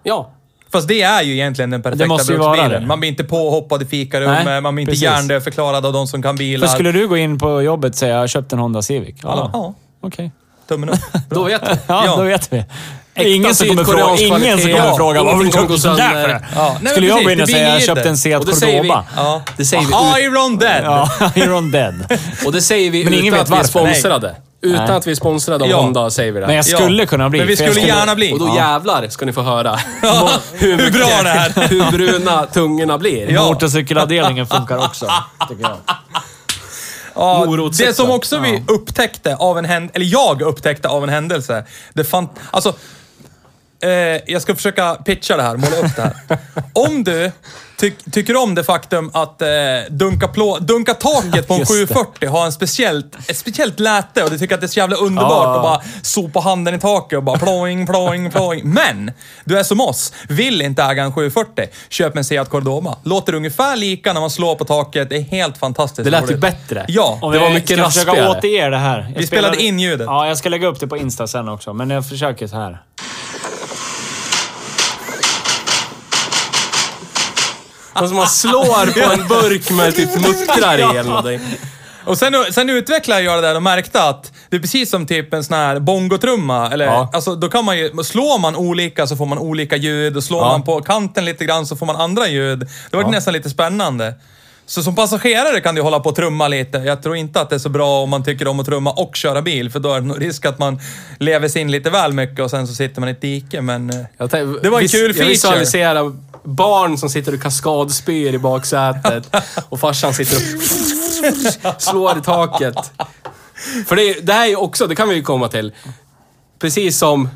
[SPEAKER 2] Ja.
[SPEAKER 3] Fast det är ju egentligen den perfekta
[SPEAKER 1] Det måste ju
[SPEAKER 3] bruksbilen.
[SPEAKER 1] vara det.
[SPEAKER 3] Man blir inte påhoppad i fikarummet,
[SPEAKER 1] Nej,
[SPEAKER 3] man blir inte
[SPEAKER 1] precis.
[SPEAKER 3] hjärndödförklarad av de som kan bilar.
[SPEAKER 1] För skulle du gå in på jobbet och säga jag har köpt en Honda Civic?
[SPEAKER 3] Alla, ja,
[SPEAKER 1] Okej.
[SPEAKER 3] tummen upp.
[SPEAKER 2] Då vet vi.
[SPEAKER 1] Ja,
[SPEAKER 3] Ja.
[SPEAKER 1] då vet vi. Ingen som kommer fråga,
[SPEAKER 2] sydkoreansk
[SPEAKER 1] ingen som
[SPEAKER 2] kvalitet.
[SPEAKER 1] kommer
[SPEAKER 2] Ja,
[SPEAKER 1] fråga vad har du
[SPEAKER 2] ingenting som
[SPEAKER 1] köpt en sån
[SPEAKER 2] går
[SPEAKER 1] där
[SPEAKER 2] sönder.
[SPEAKER 1] för?"
[SPEAKER 3] Ja, nej, men
[SPEAKER 1] Skulle jag
[SPEAKER 3] precis,
[SPEAKER 1] gå in och
[SPEAKER 3] det
[SPEAKER 1] säga
[SPEAKER 3] blir
[SPEAKER 1] jag köpte
[SPEAKER 3] det.
[SPEAKER 1] en Seat
[SPEAKER 2] Och det säger vi.
[SPEAKER 1] Cordoba?
[SPEAKER 3] Ja.
[SPEAKER 2] Det säger vi
[SPEAKER 3] Aha, Iron Dead!
[SPEAKER 1] Ja, Iron Dead.
[SPEAKER 2] Och det säger vi
[SPEAKER 1] Men
[SPEAKER 2] utan
[SPEAKER 1] ingen vet
[SPEAKER 2] att vi är
[SPEAKER 1] varför.
[SPEAKER 2] sponsrade. Utan att vi är sponsrade av
[SPEAKER 3] Ja.
[SPEAKER 2] Honda säger vi det.
[SPEAKER 1] Men jag skulle kunna bli.
[SPEAKER 3] Men vi
[SPEAKER 1] för jag
[SPEAKER 3] skulle gärna bli.
[SPEAKER 2] Och då
[SPEAKER 3] ja.
[SPEAKER 2] jävlar ska ni få höra
[SPEAKER 3] hur bra det är.
[SPEAKER 2] hur bruna tungorna blir.
[SPEAKER 3] Ja.
[SPEAKER 1] Motorcykelavdelningen funkar också, tycker jag.
[SPEAKER 3] Ja,
[SPEAKER 2] Morotsäcken.
[SPEAKER 3] det som också vi upptäckte av en händelse, eller jag upptäckte av en händelse. Det fan, alltså, eh, jag ska försöka pitcha det här, måla upp det här. Om du tyck- tycker om det faktum att eh, dunka, plå- dunka taket på en
[SPEAKER 1] Just det.
[SPEAKER 3] 740 har en speciellt, ett speciellt läte och du tycker att det är så jävla underbart
[SPEAKER 1] Ja.
[SPEAKER 3] att bara sopa handen i taket och bara ploing, ploing, ploing. Men! Du är som oss, vill inte äga en 740. Köp en Seat Cordoma. Låter ungefär lika när man slår på taket. Det är helt fantastiskt.
[SPEAKER 2] Det lät ju
[SPEAKER 3] roligt.
[SPEAKER 2] bätge.
[SPEAKER 3] Ja.
[SPEAKER 1] Om
[SPEAKER 2] Det var
[SPEAKER 1] jag
[SPEAKER 2] mycket
[SPEAKER 1] ska försöka
[SPEAKER 2] raspigare.
[SPEAKER 1] återge det här. Jag
[SPEAKER 3] Vi
[SPEAKER 1] spelar-
[SPEAKER 3] spelade in ljudet.
[SPEAKER 1] Ja, jag ska lägga upp det på Insta sen också, men jag försöker så här.
[SPEAKER 2] Alltså man slår på en burk med typ muttrar i eller någonting.
[SPEAKER 3] Och sen, sen utvecklade jag det där och märkte att det är precis som typ en sån här bongotrumma. Eller,
[SPEAKER 2] Ja.
[SPEAKER 3] alltså, då kan man ju, slår man olika så får man olika ljud och slår
[SPEAKER 2] Ja.
[SPEAKER 3] man på kanten lite grann så får man andra ljud. Det var nästan lite spännande. Så som passagerare kan du hålla på och trumma lite. Jag tror inte att det är så bra om man tycker om att trumma och köra bil, för då är det nog risk att man lever sig in lite väl mycket och sen så sitter man i ett dike. Men eh,
[SPEAKER 2] Jag tänkte-
[SPEAKER 3] Det var en
[SPEAKER 2] vis-
[SPEAKER 3] kul feature.
[SPEAKER 2] Jag visualiserar barn som sitter och kaskadspyr i baksätet och farsan sitter och slår i taket. För det, är- det här är ju också, det kan vi ju komma till. Precis som...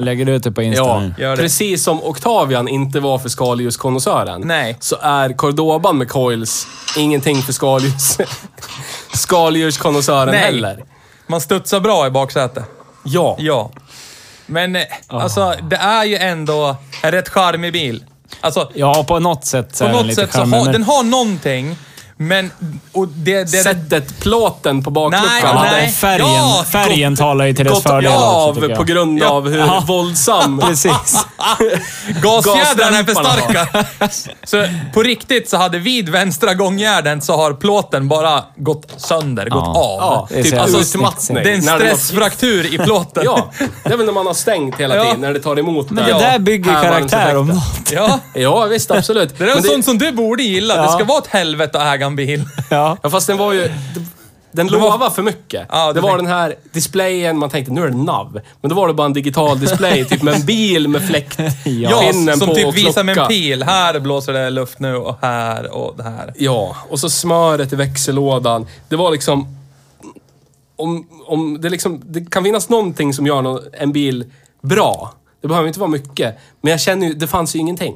[SPEAKER 1] Lägger du ut det på Insta
[SPEAKER 2] Ja,
[SPEAKER 1] nu?
[SPEAKER 3] Gör det.
[SPEAKER 2] precis som Octavian inte var för skaldjurskonnässören.
[SPEAKER 3] Nej.
[SPEAKER 2] Så är Cordoban med coils ingenting för skaldjurs... skaldjurskonnässören
[SPEAKER 3] Nej.
[SPEAKER 2] heller.
[SPEAKER 3] man studsar bra i baksätet.
[SPEAKER 2] Ja.
[SPEAKER 3] Ja. Men eh,
[SPEAKER 1] Ah.
[SPEAKER 3] alltså, det är ju ändå en rätt charmig bil. Alltså,
[SPEAKER 1] Ja, på något sätt så
[SPEAKER 3] på
[SPEAKER 1] är den
[SPEAKER 3] något
[SPEAKER 1] lite
[SPEAKER 3] sätt så
[SPEAKER 1] charmig.
[SPEAKER 3] har,
[SPEAKER 1] men-
[SPEAKER 3] den har någonting, men... Och det, det, det,
[SPEAKER 2] Sättet, plåten på
[SPEAKER 3] Nej,
[SPEAKER 2] bakluckan.
[SPEAKER 1] Ja,
[SPEAKER 3] nej.
[SPEAKER 1] den färgen,
[SPEAKER 3] Ja,
[SPEAKER 1] färgen talar ju till dess
[SPEAKER 2] gått
[SPEAKER 1] fördel också,
[SPEAKER 2] av
[SPEAKER 1] tycker jag.
[SPEAKER 2] på grund av hur våldsam...
[SPEAKER 1] Precis.
[SPEAKER 3] gasjädrarna är för
[SPEAKER 2] gasdämparna.
[SPEAKER 3] starka. så på riktigt så hade vid vänstra gångjärden så har plåten bara gått sönder, gått
[SPEAKER 1] Ja.
[SPEAKER 3] av.
[SPEAKER 2] Ja,
[SPEAKER 1] Det är
[SPEAKER 2] typ
[SPEAKER 1] så jävla
[SPEAKER 2] alltså
[SPEAKER 1] snyggt.
[SPEAKER 2] utmattning.
[SPEAKER 3] Det är en
[SPEAKER 2] När den har-
[SPEAKER 3] stressfraktur i plåten.
[SPEAKER 2] Ja, det är väl när man har stängt hela
[SPEAKER 3] Ja.
[SPEAKER 2] tiden, när det tar emot.
[SPEAKER 1] Men det där bygger ju karaktär om något.
[SPEAKER 3] ja.
[SPEAKER 2] Ja, visst. Absolut.
[SPEAKER 3] Det där är
[SPEAKER 2] Men
[SPEAKER 3] en sån som du borde gilla. Det
[SPEAKER 1] Ja.
[SPEAKER 3] ska vara ett helvete att äga en bil.
[SPEAKER 1] Ja.
[SPEAKER 2] Ja, fast den var ju... Den lovade för mycket.
[SPEAKER 3] Ja,
[SPEAKER 2] det
[SPEAKER 3] det
[SPEAKER 2] var
[SPEAKER 3] tänkte-
[SPEAKER 2] den här displayen, man tänkte nu är det NAV. Men då var det bara en digital display, typ med en bil med fläkt.
[SPEAKER 3] Ja,
[SPEAKER 2] pinnen
[SPEAKER 3] som
[SPEAKER 2] på
[SPEAKER 3] typ
[SPEAKER 2] och
[SPEAKER 3] visar med en
[SPEAKER 2] klocka.
[SPEAKER 3] pil. Här blåser det luft nu och här och det här.
[SPEAKER 2] Ja, och så smöret i växellådan. Det var liksom... Om, om det, liksom det kan finnas någonting som gör nå- en bil bra. Det behöver inte vara mycket. Men jag känner ju, det fanns ju ingenting.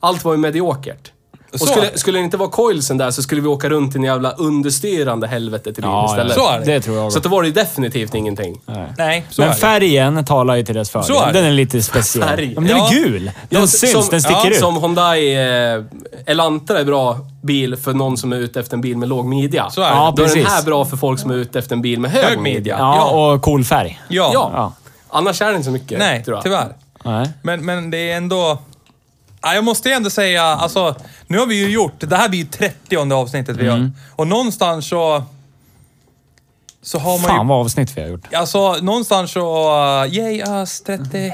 [SPEAKER 2] Allt var ju mediokert.
[SPEAKER 3] Så.
[SPEAKER 2] Och skulle, skulle det inte vara coilsen där så skulle vi åka runt i en jävla understyrande helvete till bil
[SPEAKER 1] Ja, ja.
[SPEAKER 2] istället.
[SPEAKER 3] Så är det.
[SPEAKER 1] Det tror jag.
[SPEAKER 2] Så att då var det ju definitivt ingenting.
[SPEAKER 3] Nej, så är
[SPEAKER 1] men
[SPEAKER 3] det.
[SPEAKER 1] färgen talar ju till dess
[SPEAKER 3] Så är det.
[SPEAKER 1] fördel. Den är lite speciell.
[SPEAKER 2] Färg.
[SPEAKER 1] Ja, men den är
[SPEAKER 3] Ja.
[SPEAKER 1] gul. Den
[SPEAKER 2] Ja,
[SPEAKER 1] syns,
[SPEAKER 2] som-
[SPEAKER 1] den sticker
[SPEAKER 2] ja,
[SPEAKER 1] ut.
[SPEAKER 2] Som Hyundai eh, Elantra är bra bil för någon som är ute efter en bil med låg midja.
[SPEAKER 3] Så är det.
[SPEAKER 1] Ja,
[SPEAKER 2] Då är den
[SPEAKER 1] precis.
[SPEAKER 2] här bra för folk som är ute efter en bil med hög,
[SPEAKER 3] Hög midja.
[SPEAKER 2] midja.
[SPEAKER 1] ja, och cool färg.
[SPEAKER 3] Ja.
[SPEAKER 2] Ja.
[SPEAKER 1] Ja.
[SPEAKER 2] Annars är det inte så mycket,
[SPEAKER 3] Nej,
[SPEAKER 2] tror jag.
[SPEAKER 3] tyvärr.
[SPEAKER 1] Nej.
[SPEAKER 3] Men, men det är ändå... Ja, jag måste ju ändå säga, alltså, nu har vi ju gjort... Det här blir ju 30 avsnittet vi gör. Och någonstans så... Så har man
[SPEAKER 1] Fan
[SPEAKER 3] ju...
[SPEAKER 1] vad avsnitt vi har gjort.
[SPEAKER 3] Alltså, någonstans så... Uh, yay us 30.
[SPEAKER 2] Vi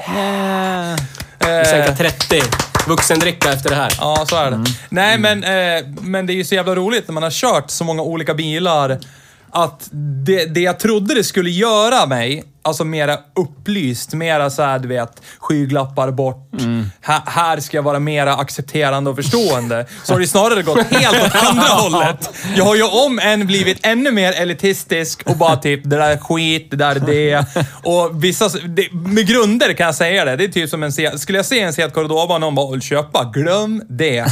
[SPEAKER 3] Eh,
[SPEAKER 2] sänker 30. Vuxendricka efter det här.
[SPEAKER 3] Ja, så är det. Nej, men, eh, men det är ju så jävla roligt när man har kört så många olika bilar. Att det, det jag trodde det skulle göra mig, alltså mera upplyst, mera såhär du vet, skygglappar bort. Här, här ska jag vara mera accepterande och förstående. Så har det snarare gått helt åt andra hållet. Jag har ju om än blivit ännu mer elitistisk och bara typ, det där är skit, det där är det. Och vissa, det, med grunder kan jag säga det. Det är typ som en, Seat- skulle jag se en Seat Cordoba och någon bara, "Åh, köpa, glöm det.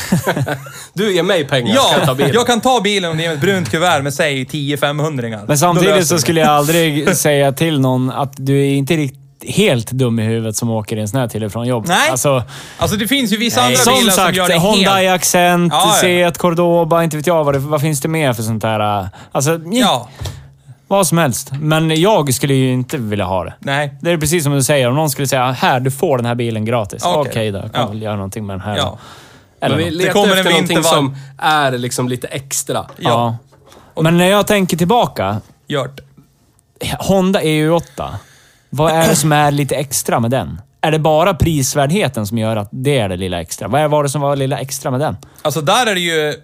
[SPEAKER 2] Du, ger mig pengar ska jag ta
[SPEAKER 3] Ja,
[SPEAKER 2] bilen.
[SPEAKER 3] jag kan ta bilen om ni ger mig ett brunt kuvert med säg 10 500
[SPEAKER 1] Men samtidigt så skulle jag aldrig säga till någon att du är inte riktigt helt dum i huvudet som åker i en sån här till och från jobb.
[SPEAKER 3] Nej.
[SPEAKER 1] Alltså,
[SPEAKER 3] Alltså det finns ju vissa andra
[SPEAKER 1] som
[SPEAKER 3] bilar
[SPEAKER 1] sagt,
[SPEAKER 3] som gör det
[SPEAKER 1] Honda i
[SPEAKER 3] helt...
[SPEAKER 1] accent,
[SPEAKER 3] Ja, ja.
[SPEAKER 1] Seat Cordoba, inte vet jag vad, det, vad finns det mer för sånt där. äh, Alltså,
[SPEAKER 3] Ja,
[SPEAKER 1] vad som helst. Men jag skulle ju inte vilja ha det.
[SPEAKER 3] nej.
[SPEAKER 1] Det är precis som du säger, om någon skulle säga här, du får den här bilen gratis.
[SPEAKER 3] Okej.
[SPEAKER 1] Okej då, jag kan
[SPEAKER 3] Ja.
[SPEAKER 1] väl göra någonting med den här
[SPEAKER 3] Ja.
[SPEAKER 1] då. Eller
[SPEAKER 2] Men vi
[SPEAKER 1] något.
[SPEAKER 2] letar
[SPEAKER 3] kommer en
[SPEAKER 2] efter någonting
[SPEAKER 3] vintervarv.
[SPEAKER 2] som är liksom lite extra.
[SPEAKER 1] ja. Men när jag tänker tillbaka,
[SPEAKER 3] Gjort.
[SPEAKER 1] Honda EU8. Vad är det som är lite extra med den? Är det bara prisvärdheten som gör att det är det lilla extra? Vad var det som var det lilla extra med den?
[SPEAKER 3] Alltså där är det ju...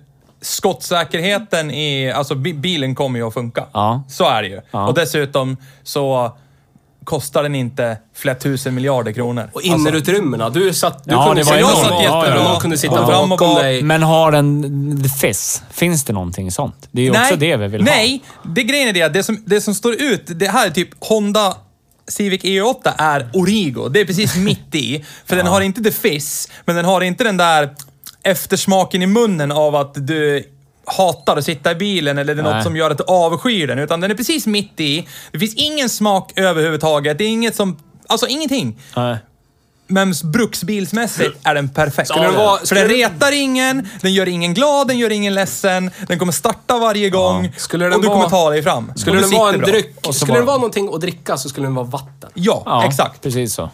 [SPEAKER 3] skottsäkerheten i... Alltså bi- bilen kommer ju att funka.
[SPEAKER 1] Ja.
[SPEAKER 3] Så är det ju.
[SPEAKER 1] Ja.
[SPEAKER 3] Och dessutom så kostar den inte flera tusen miljarder kronor. Alltså,
[SPEAKER 2] Och innerutrymmena. Du satt... Du
[SPEAKER 1] Ja,
[SPEAKER 2] kunde
[SPEAKER 1] det var
[SPEAKER 2] sitta-
[SPEAKER 3] jag
[SPEAKER 1] enormt.
[SPEAKER 3] satt
[SPEAKER 1] Ja,
[SPEAKER 3] jättebra.
[SPEAKER 1] ja.
[SPEAKER 2] Någon kunde sitta
[SPEAKER 3] Och fram och
[SPEAKER 2] bakom
[SPEAKER 3] bak.
[SPEAKER 2] dig.
[SPEAKER 1] Men har den the fizz? Finns det någonting sånt? Det är ju också det vi vill ha.
[SPEAKER 3] nej, det grejen är det, att det som, det som står ut, det här är typ Honda Civic E8 är Origo. Det är precis mitt i. För den har inte the fizz, men den har inte den där eftersmaken i munnen av att du hatar att sitta i bilen eller det är något
[SPEAKER 1] Nej.
[SPEAKER 3] som gör att du avskyr den. Utan den är precis mitt i. Det finns ingen smak överhuvudtaget. Det är inget som... Alltså ingenting.
[SPEAKER 1] Nej.
[SPEAKER 3] Men bruksbilsmässigt är den perfekt.
[SPEAKER 2] Skulle den vara-
[SPEAKER 3] För
[SPEAKER 2] skulle
[SPEAKER 3] den
[SPEAKER 2] den-
[SPEAKER 3] retar ingen, den gör ingen glad, den gör ingen ledsen, den kommer starta varje gång
[SPEAKER 2] Skulle den
[SPEAKER 3] och du kommer
[SPEAKER 2] vara-
[SPEAKER 3] ta dig fram.
[SPEAKER 2] Skulle
[SPEAKER 3] Och
[SPEAKER 2] den
[SPEAKER 3] du
[SPEAKER 2] vara en
[SPEAKER 3] sitter bra.
[SPEAKER 2] dryck...
[SPEAKER 1] Och så
[SPEAKER 2] Skulle
[SPEAKER 1] bara-
[SPEAKER 2] den vara någonting att dricka så skulle den vara vatten.
[SPEAKER 3] Ja,
[SPEAKER 1] Ja,
[SPEAKER 3] exakt.
[SPEAKER 1] Precis så.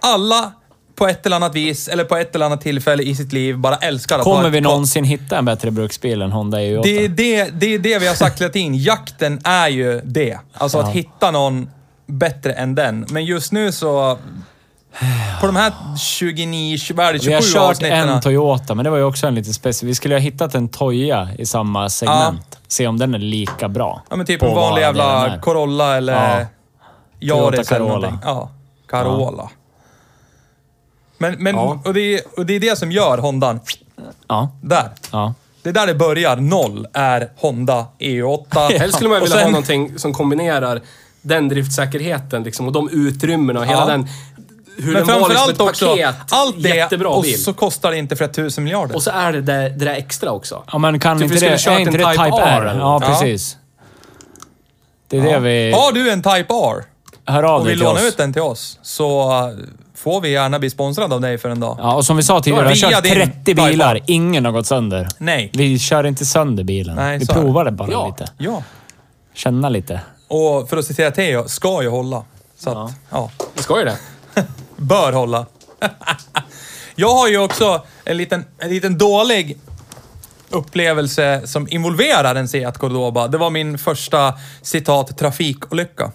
[SPEAKER 3] Alla på ett eller annat vis, eller på ett eller annat tillfälle i sitt liv, bara älskar att ha
[SPEAKER 1] Kommer
[SPEAKER 3] ett
[SPEAKER 1] vi
[SPEAKER 3] gott-
[SPEAKER 1] någonsin hitta en bättre bruksbil än Honda E EU8?
[SPEAKER 3] Det är det, det är det vi har sagt hela tiden. Jakten är ju det. Alltså att hitta någon bättre än den. Men just nu så... På de här 29, 20, vad är det,
[SPEAKER 1] Vi
[SPEAKER 3] 27
[SPEAKER 1] har kört
[SPEAKER 3] avsnitten.
[SPEAKER 1] en Toyota, men det var ju också en liten speciell. Vi skulle ju ha hittat en Toya i samma segment. Se om den är lika bra.
[SPEAKER 3] Ja men typ
[SPEAKER 1] på
[SPEAKER 3] en vanlig
[SPEAKER 1] vad den
[SPEAKER 3] jävla
[SPEAKER 1] är.
[SPEAKER 3] Corolla eller
[SPEAKER 1] Ja. Toyota
[SPEAKER 3] Yaris eller
[SPEAKER 1] Carola.
[SPEAKER 3] någonting. Ja, Carola. Men, men
[SPEAKER 2] Ja.
[SPEAKER 3] och, det är, och det är det som gör Hondan
[SPEAKER 1] Ja.
[SPEAKER 3] där.
[SPEAKER 1] Ja.
[SPEAKER 3] Det är där det börjar. Noll är Honda EU8.
[SPEAKER 2] Helst skulle man
[SPEAKER 3] Och
[SPEAKER 2] vilja
[SPEAKER 3] sen-
[SPEAKER 2] ha någonting som kombinerar den driftsäkerheten liksom, och de utrymmena och hela
[SPEAKER 3] Ja.
[SPEAKER 2] den... Hur
[SPEAKER 3] Men
[SPEAKER 2] den var liksom ett
[SPEAKER 3] framförallt också,
[SPEAKER 2] paket.
[SPEAKER 3] allt det
[SPEAKER 2] jättebra
[SPEAKER 3] och
[SPEAKER 2] bil.
[SPEAKER 3] så kostar det inte flera tusen miljarder.
[SPEAKER 2] Och så är det det, det där extra också.
[SPEAKER 1] Ja, men kan
[SPEAKER 2] Typ vi
[SPEAKER 1] inte
[SPEAKER 2] skulle
[SPEAKER 1] det...
[SPEAKER 2] kört
[SPEAKER 1] Är inte
[SPEAKER 2] en
[SPEAKER 1] det Type,
[SPEAKER 2] Type
[SPEAKER 1] R?
[SPEAKER 2] R.
[SPEAKER 1] Ja,
[SPEAKER 3] Ja.
[SPEAKER 1] precis. Det är det vi...
[SPEAKER 3] Har du en Type R
[SPEAKER 1] Hör av
[SPEAKER 3] och
[SPEAKER 1] dig
[SPEAKER 3] vill
[SPEAKER 1] till
[SPEAKER 3] låna
[SPEAKER 1] oss.
[SPEAKER 3] ut den till oss så eh, får vi gärna bli sponsrade av dig för en dag.
[SPEAKER 1] Ja, och som vi sa tidigare, vi
[SPEAKER 3] Via
[SPEAKER 1] har kört
[SPEAKER 3] din
[SPEAKER 1] 30
[SPEAKER 3] Type R.
[SPEAKER 1] bilar. Ingen har gått sönder.
[SPEAKER 3] Nej.
[SPEAKER 1] Vi kör inte sönder bilen.
[SPEAKER 3] Nej,
[SPEAKER 1] vi
[SPEAKER 3] så är det.
[SPEAKER 1] provar det bara
[SPEAKER 2] Ja.
[SPEAKER 1] lite.
[SPEAKER 3] Ja.
[SPEAKER 1] Känna lite.
[SPEAKER 3] Och för att citera Theo, ska ju hålla. Så att, ja.
[SPEAKER 2] Det ska ju det.
[SPEAKER 3] Bör hålla. jag har ju också en liten, en liten dålig upplevelse som involverar en Seat Cordoba. Det var min första citat trafikolycka.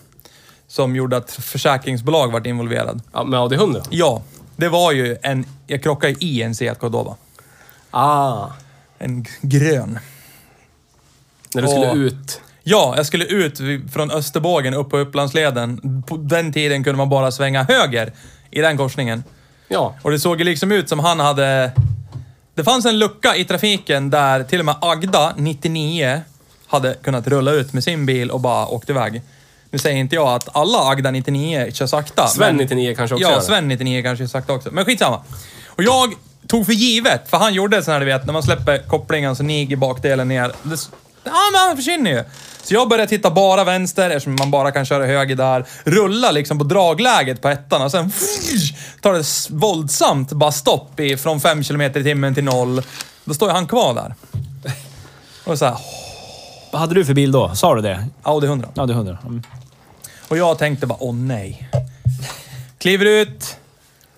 [SPEAKER 3] Som gjorde att försäkringsbolag vart involverad.
[SPEAKER 2] Ja, med AD100.
[SPEAKER 3] Ja, det var ju en... Jag krockade i en Seat Cordoba.
[SPEAKER 2] Ah.
[SPEAKER 3] En g- grön.
[SPEAKER 2] När du skulle
[SPEAKER 3] Åh.
[SPEAKER 2] ut.
[SPEAKER 3] Ja, jag skulle ut vid- från Österbågen upp på Upplandsleden. På den tiden kunde man bara svänga höger i den korsningen.
[SPEAKER 2] Ja.
[SPEAKER 3] Och det såg ju liksom ut som han hade... Det fanns en lucka i trafiken där till och med Agda, 99, hade kunnat rulla ut med sin bil och bara åkt iväg. Nu säger inte jag att alla Agda 99 kör sakta.
[SPEAKER 2] Sven 99 kanske också
[SPEAKER 3] Ja,
[SPEAKER 2] gör det.
[SPEAKER 3] Sven 99 kanske kör sakta också. Men skitsamma. Och jag tog för givet, för han gjorde sån här du vet, när man släpper kopplingen så niger bakdelen ner. Det, s- ja, men han försvinner ju. Så jag började titta bara vänster eftersom man bara kan köra höger där. Rulla liksom på dragläget på ettan och sen tar det s- våldsamt bara stopp i, från 5 km i timmen till noll. Då står ju han kvar där. Och så här,
[SPEAKER 1] Vad hade du för bil då? Sa du det?
[SPEAKER 3] Audi 100.
[SPEAKER 1] Ja, det är 100. Mm.
[SPEAKER 3] Och jag tänkte bara, åh nej. Kliver ut.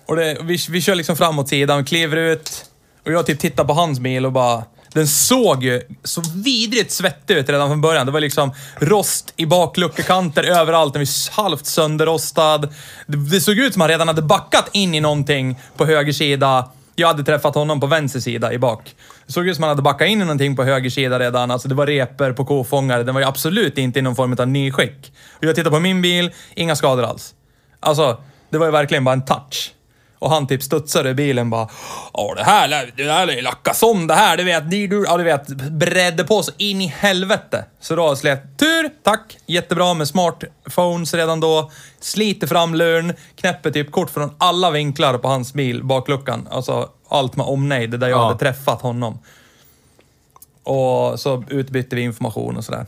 [SPEAKER 3] Och det, vi, vi kör liksom framåt sidan, kliver ut. Och jag typ tittar på hans bil och bara... Den såg ju så vidrigt svettig ut redan från början. Det var liksom rost i bakluckekanter överallt. Den var halvt sönderrostad. Det, det såg ut som han redan hade backat in i någonting på höger sida. Jag hade träffat honom på vänster sida i bak. Det såg ut som han hade backat in i någonting på höger sida redan. Alltså det var repor på kofångare. Den var ju absolut inte i någon form av nyskick. Och jag tittar på min bil, inga skador alls. Alltså, det var ju verkligen bara en touch. Och han typ studsade i bilen bara. Ja, det här lär, det här lär ju lackas om det här. Du vet, det, du, ja, du vet. Bredde på så in i helvete. Så då slet tur, tack, jättebra med smartphones redan då. Sliter fram luren, knäpper typ kort från alla vinklar på hans bil, bakluckan. Alltså allt med omnejd, det där jag
[SPEAKER 2] Ja.
[SPEAKER 3] hade träffat honom. Och så utbytte vi information och sådär.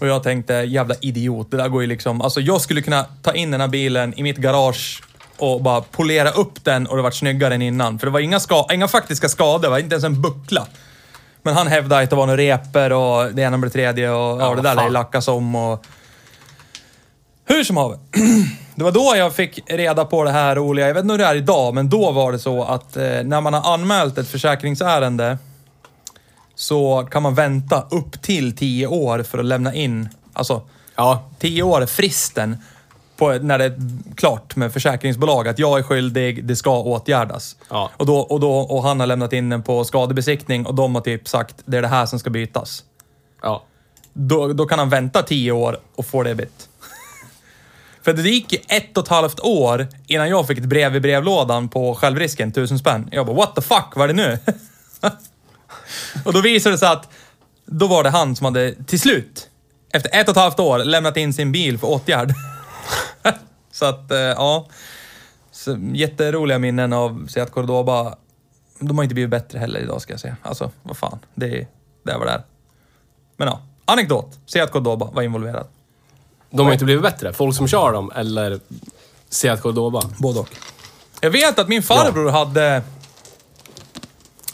[SPEAKER 3] Och jag tänkte, jävla idiot, det där går ju liksom... Alltså jag skulle kunna ta in den här bilen i mitt garage och bara polera upp den och det varit snyggare än innan. För det var inga, ska, inga faktiska skador, det var inte ens en buckla. Men han hävdade att det var några repor och det ena med det tredje och ja,
[SPEAKER 2] Ja,
[SPEAKER 3] det där lär ju
[SPEAKER 2] fan.
[SPEAKER 3] lackas om och... Hur som haver. Det var då jag fick reda på det här roliga. Jag vet inte hur det är idag, men då var det så att eh, när man har anmält ett försäkringsärende så kan man vänta upp till 10 år för att lämna in. Alltså,
[SPEAKER 2] Ja.
[SPEAKER 3] 10 år är fristen på, när det är klart med försäkringsbolag att jag är skyldig, det ska åtgärdas.
[SPEAKER 2] Ja.
[SPEAKER 3] Och, då, och, då, och han har lämnat in den på skadebesiktning och de har typ sagt det är det här som ska bytas.
[SPEAKER 2] Ja.
[SPEAKER 3] Då, då kan han vänta tio år och få det bytt. För det gick ju ett och ett halvt år innan jag fick ett brev i brevlådan på självrisken, tusen spänn. Jag bara, what the fuck, vad är det nu? och då visade det sig att då var det han som hade till slut, efter ett och ett halvt år, lämnat in sin bil för åtgärd. så att, eh, ja. Så, jätteroliga minnen av Seat Cordoba. De har inte blivit bättre heller idag ska jag säga. Alltså, vad fan. Det, det var det är. Men ja, anekdot. Seat Cordoba var involverad.
[SPEAKER 2] De har inte blivit bättre. Folk som kör dem eller Seat Cordoba.
[SPEAKER 3] Både och. Jag vet att min farbror hade...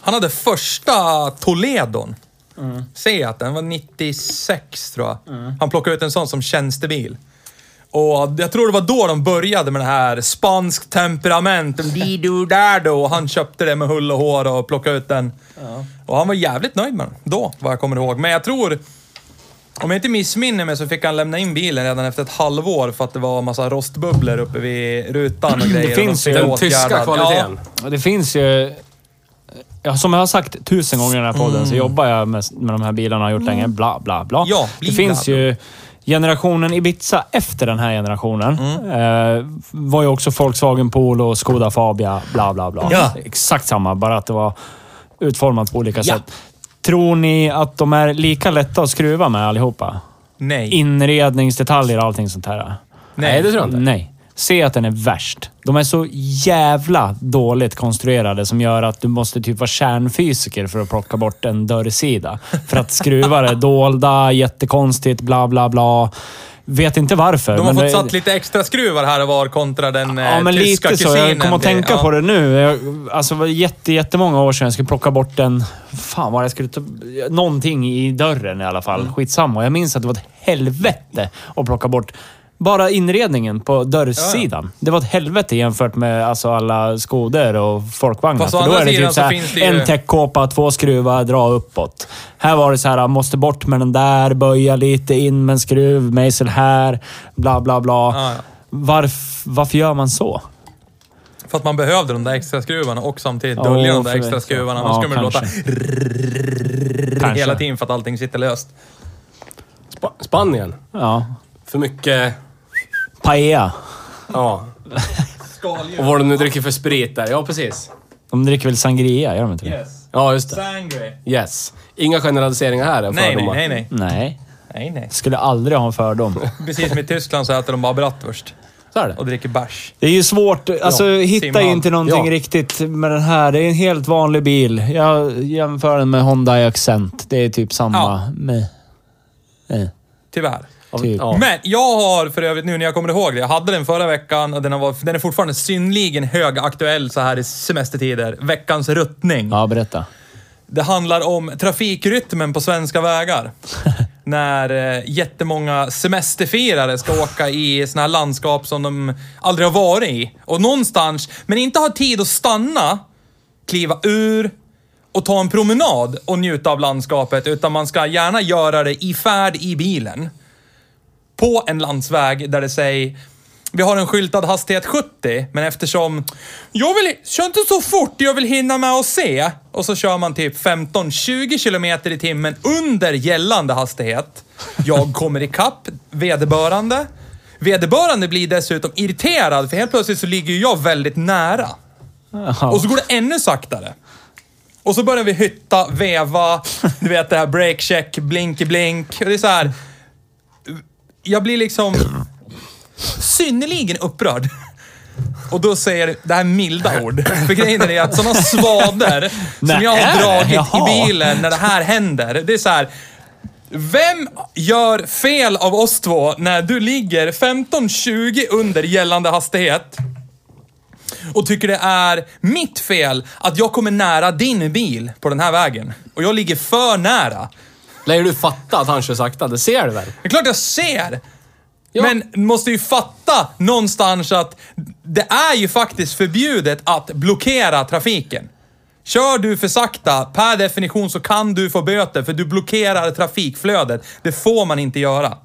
[SPEAKER 3] Han hade första Toledon. Seat, att den var 96 tror jag. Han plockade ut en sån som tjänstebil. Och jag tror det var då de började med det här spansk temperament. di do där då. Och han köpte det med hull och hår och plockade ut den. Och han var jävligt nöjd med den då, vad jag kommer ihåg. Men jag tror... Om jag inte missminner mig så fick han lämna in bilen redan efter ett halvår för att det var massa rostbubblor uppe vid rutan och grejer. och de
[SPEAKER 1] finns ju
[SPEAKER 3] fick
[SPEAKER 1] den
[SPEAKER 3] åtgärda.
[SPEAKER 2] Tyska kvaliteten.
[SPEAKER 1] Och Det finns ju... Ja, som jag har sagt tusen gånger i den här podden så jobbar jag med, med de här bilarna och har gjort länge. Bla, bla, bla.
[SPEAKER 3] Mm. Ja,
[SPEAKER 1] det
[SPEAKER 3] bli
[SPEAKER 1] finns
[SPEAKER 3] bla, bla.
[SPEAKER 1] ju... Generationen Ibiza efter den här generationen
[SPEAKER 3] Mm.
[SPEAKER 1] eh, var ju också Volkswagen Polo, Skoda Fabia, bla bla bla.
[SPEAKER 3] Ja.
[SPEAKER 1] Exakt samma, bara att det var utformat på olika
[SPEAKER 3] Ja.
[SPEAKER 1] sätt. Tror ni att de är lika lätta att skruva med allihopa?
[SPEAKER 3] Nej.
[SPEAKER 1] Inredningsdetaljer och allting sånt här.
[SPEAKER 2] Nej, det tror jag inte.
[SPEAKER 1] Nej. Se att den är värst. De är så jävla dåligt konstruerade som gör att du måste typ vara kärnfysiker för att plocka bort en dörrsida. För att skruvar är dolda, jättekonstigt, bla bla bla. Vet inte varför.
[SPEAKER 3] De har
[SPEAKER 1] men
[SPEAKER 3] fått
[SPEAKER 1] det-
[SPEAKER 3] satt lite extra skruvar här och var kontra den
[SPEAKER 1] Ja,
[SPEAKER 3] eh,
[SPEAKER 1] men
[SPEAKER 3] tyska
[SPEAKER 1] lite så.
[SPEAKER 3] kusinen.
[SPEAKER 1] Jag kommer att tänka
[SPEAKER 3] ja.
[SPEAKER 1] på det nu. Jag, alltså, det var jätte, jättemånga år sedan jag skulle plocka bort en... Fan vad jag skulle ta... Någonting i dörren i alla fall.
[SPEAKER 3] Mm.
[SPEAKER 1] Skitsamma. Jag minns att det var ett helvete att plocka bort bara inredningen på dörrsidan. Det var ett helvete jämfört med alltså, alla skodor och folkvagnar.
[SPEAKER 3] Fast å
[SPEAKER 1] För då
[SPEAKER 3] andra
[SPEAKER 1] är det
[SPEAKER 3] sidan så
[SPEAKER 1] typ så här,
[SPEAKER 3] finns det ju-
[SPEAKER 1] en täckkåpa, två skruvar, dra uppåt. Här var det så här, måste bort med den där, böja lite, in med en skruv, mejsel här, bla bla bla.
[SPEAKER 3] Ja, Ah, ja.
[SPEAKER 1] Varf, varför gör man så?
[SPEAKER 3] För att man behövde de där extra skruvarna och samtidigt dölja
[SPEAKER 1] Ja,
[SPEAKER 3] de där
[SPEAKER 1] för
[SPEAKER 3] extra
[SPEAKER 1] det.
[SPEAKER 3] skruvarna.
[SPEAKER 1] Ja,
[SPEAKER 3] Annars kommer det låta
[SPEAKER 1] kanske. Kanske.
[SPEAKER 3] hela tiden för att allting sitter löst.
[SPEAKER 2] Sp- Spanien.
[SPEAKER 1] Ja.
[SPEAKER 2] För mycket...
[SPEAKER 1] Paella.
[SPEAKER 2] Ja. Och vad de nu dricker för sprit där. Ja, precis.
[SPEAKER 1] De dricker väl sangria, gör de inte det?
[SPEAKER 2] Ja, just det.
[SPEAKER 3] Sangre.
[SPEAKER 2] Yes. Inga generaliseringar här. än
[SPEAKER 3] Nej, nej,
[SPEAKER 2] fördomar.
[SPEAKER 3] nej, nej.
[SPEAKER 1] Nej.
[SPEAKER 3] Nej, nej.
[SPEAKER 1] Skulle aldrig ha en fördom.
[SPEAKER 3] Precis som i Tyskland så äter de bara bratwurst
[SPEAKER 2] Så är det.
[SPEAKER 3] och dricker bärs.
[SPEAKER 1] Det är ju svårt. Alltså,
[SPEAKER 3] Ja,
[SPEAKER 1] hitta
[SPEAKER 3] simhall.
[SPEAKER 1] ju inte någonting
[SPEAKER 2] Ja.
[SPEAKER 1] riktigt med den här. Det är en helt vanlig bil. Jag jämför den med Honda Accent. Det är typ samma.
[SPEAKER 3] Ja.
[SPEAKER 1] Med, eh,
[SPEAKER 3] Tyvärr.
[SPEAKER 1] typ.
[SPEAKER 2] Ja.
[SPEAKER 3] Men jag har för övrigt nu när jag kommer ihåg det, jag hade den förra veckan och den, har varit, den är fortfarande synnerligen högaktuell så här i semestertider. Veckans ruttning.
[SPEAKER 1] ja, berätta.
[SPEAKER 3] Det handlar om trafikrytmen på svenska vägar. När eh, jättemånga semesterfirare ska åka i såna här landskap som de aldrig har varit i. Och någonstans, men inte har tid att stanna, kliva ur och ta en promenad och njuta av landskapet. Utan man ska gärna göra det i färd i bilen. På en landsväg där det säger vi har en skyltad hastighet 70, men eftersom jag vill, kör inte så fort, jag vill hinna med att se. Och så kör man typ 15-20 kilometer i timmen under gällande hastighet. Jag kommer ikapp vederbörande. Vederbörande blir dessutom irriterad, för helt plötsligt så ligger ju jag väldigt nära. Och så går det ännu saktare. Och så börjar vi hytta, veva, du vet det här breakcheck, blinky blink. Och det är så här. Jag blir liksom synnerligen upprörd. Och då säger det här milda ord. För grejen är att sådana svader som jag
[SPEAKER 1] Nej,
[SPEAKER 3] har dragit
[SPEAKER 1] jaha.
[SPEAKER 3] i bilen när det här händer. Det är så här. Vem gör fel av oss två när du ligger 15-20 under gällande hastighet och tycker det är mitt fel att jag kommer nära din bil på den här vägen? Och jag ligger för nära.
[SPEAKER 2] Lär du fatta att han kör sakta? Det ser du väl?
[SPEAKER 3] Det är klart jag ser! Men måste ju fatta någonstans att det är ju faktiskt förbjudet att blockera trafiken. Kör du för sakta, per definition så kan du få böter för du blockerar trafikflödet. Det får man inte göra.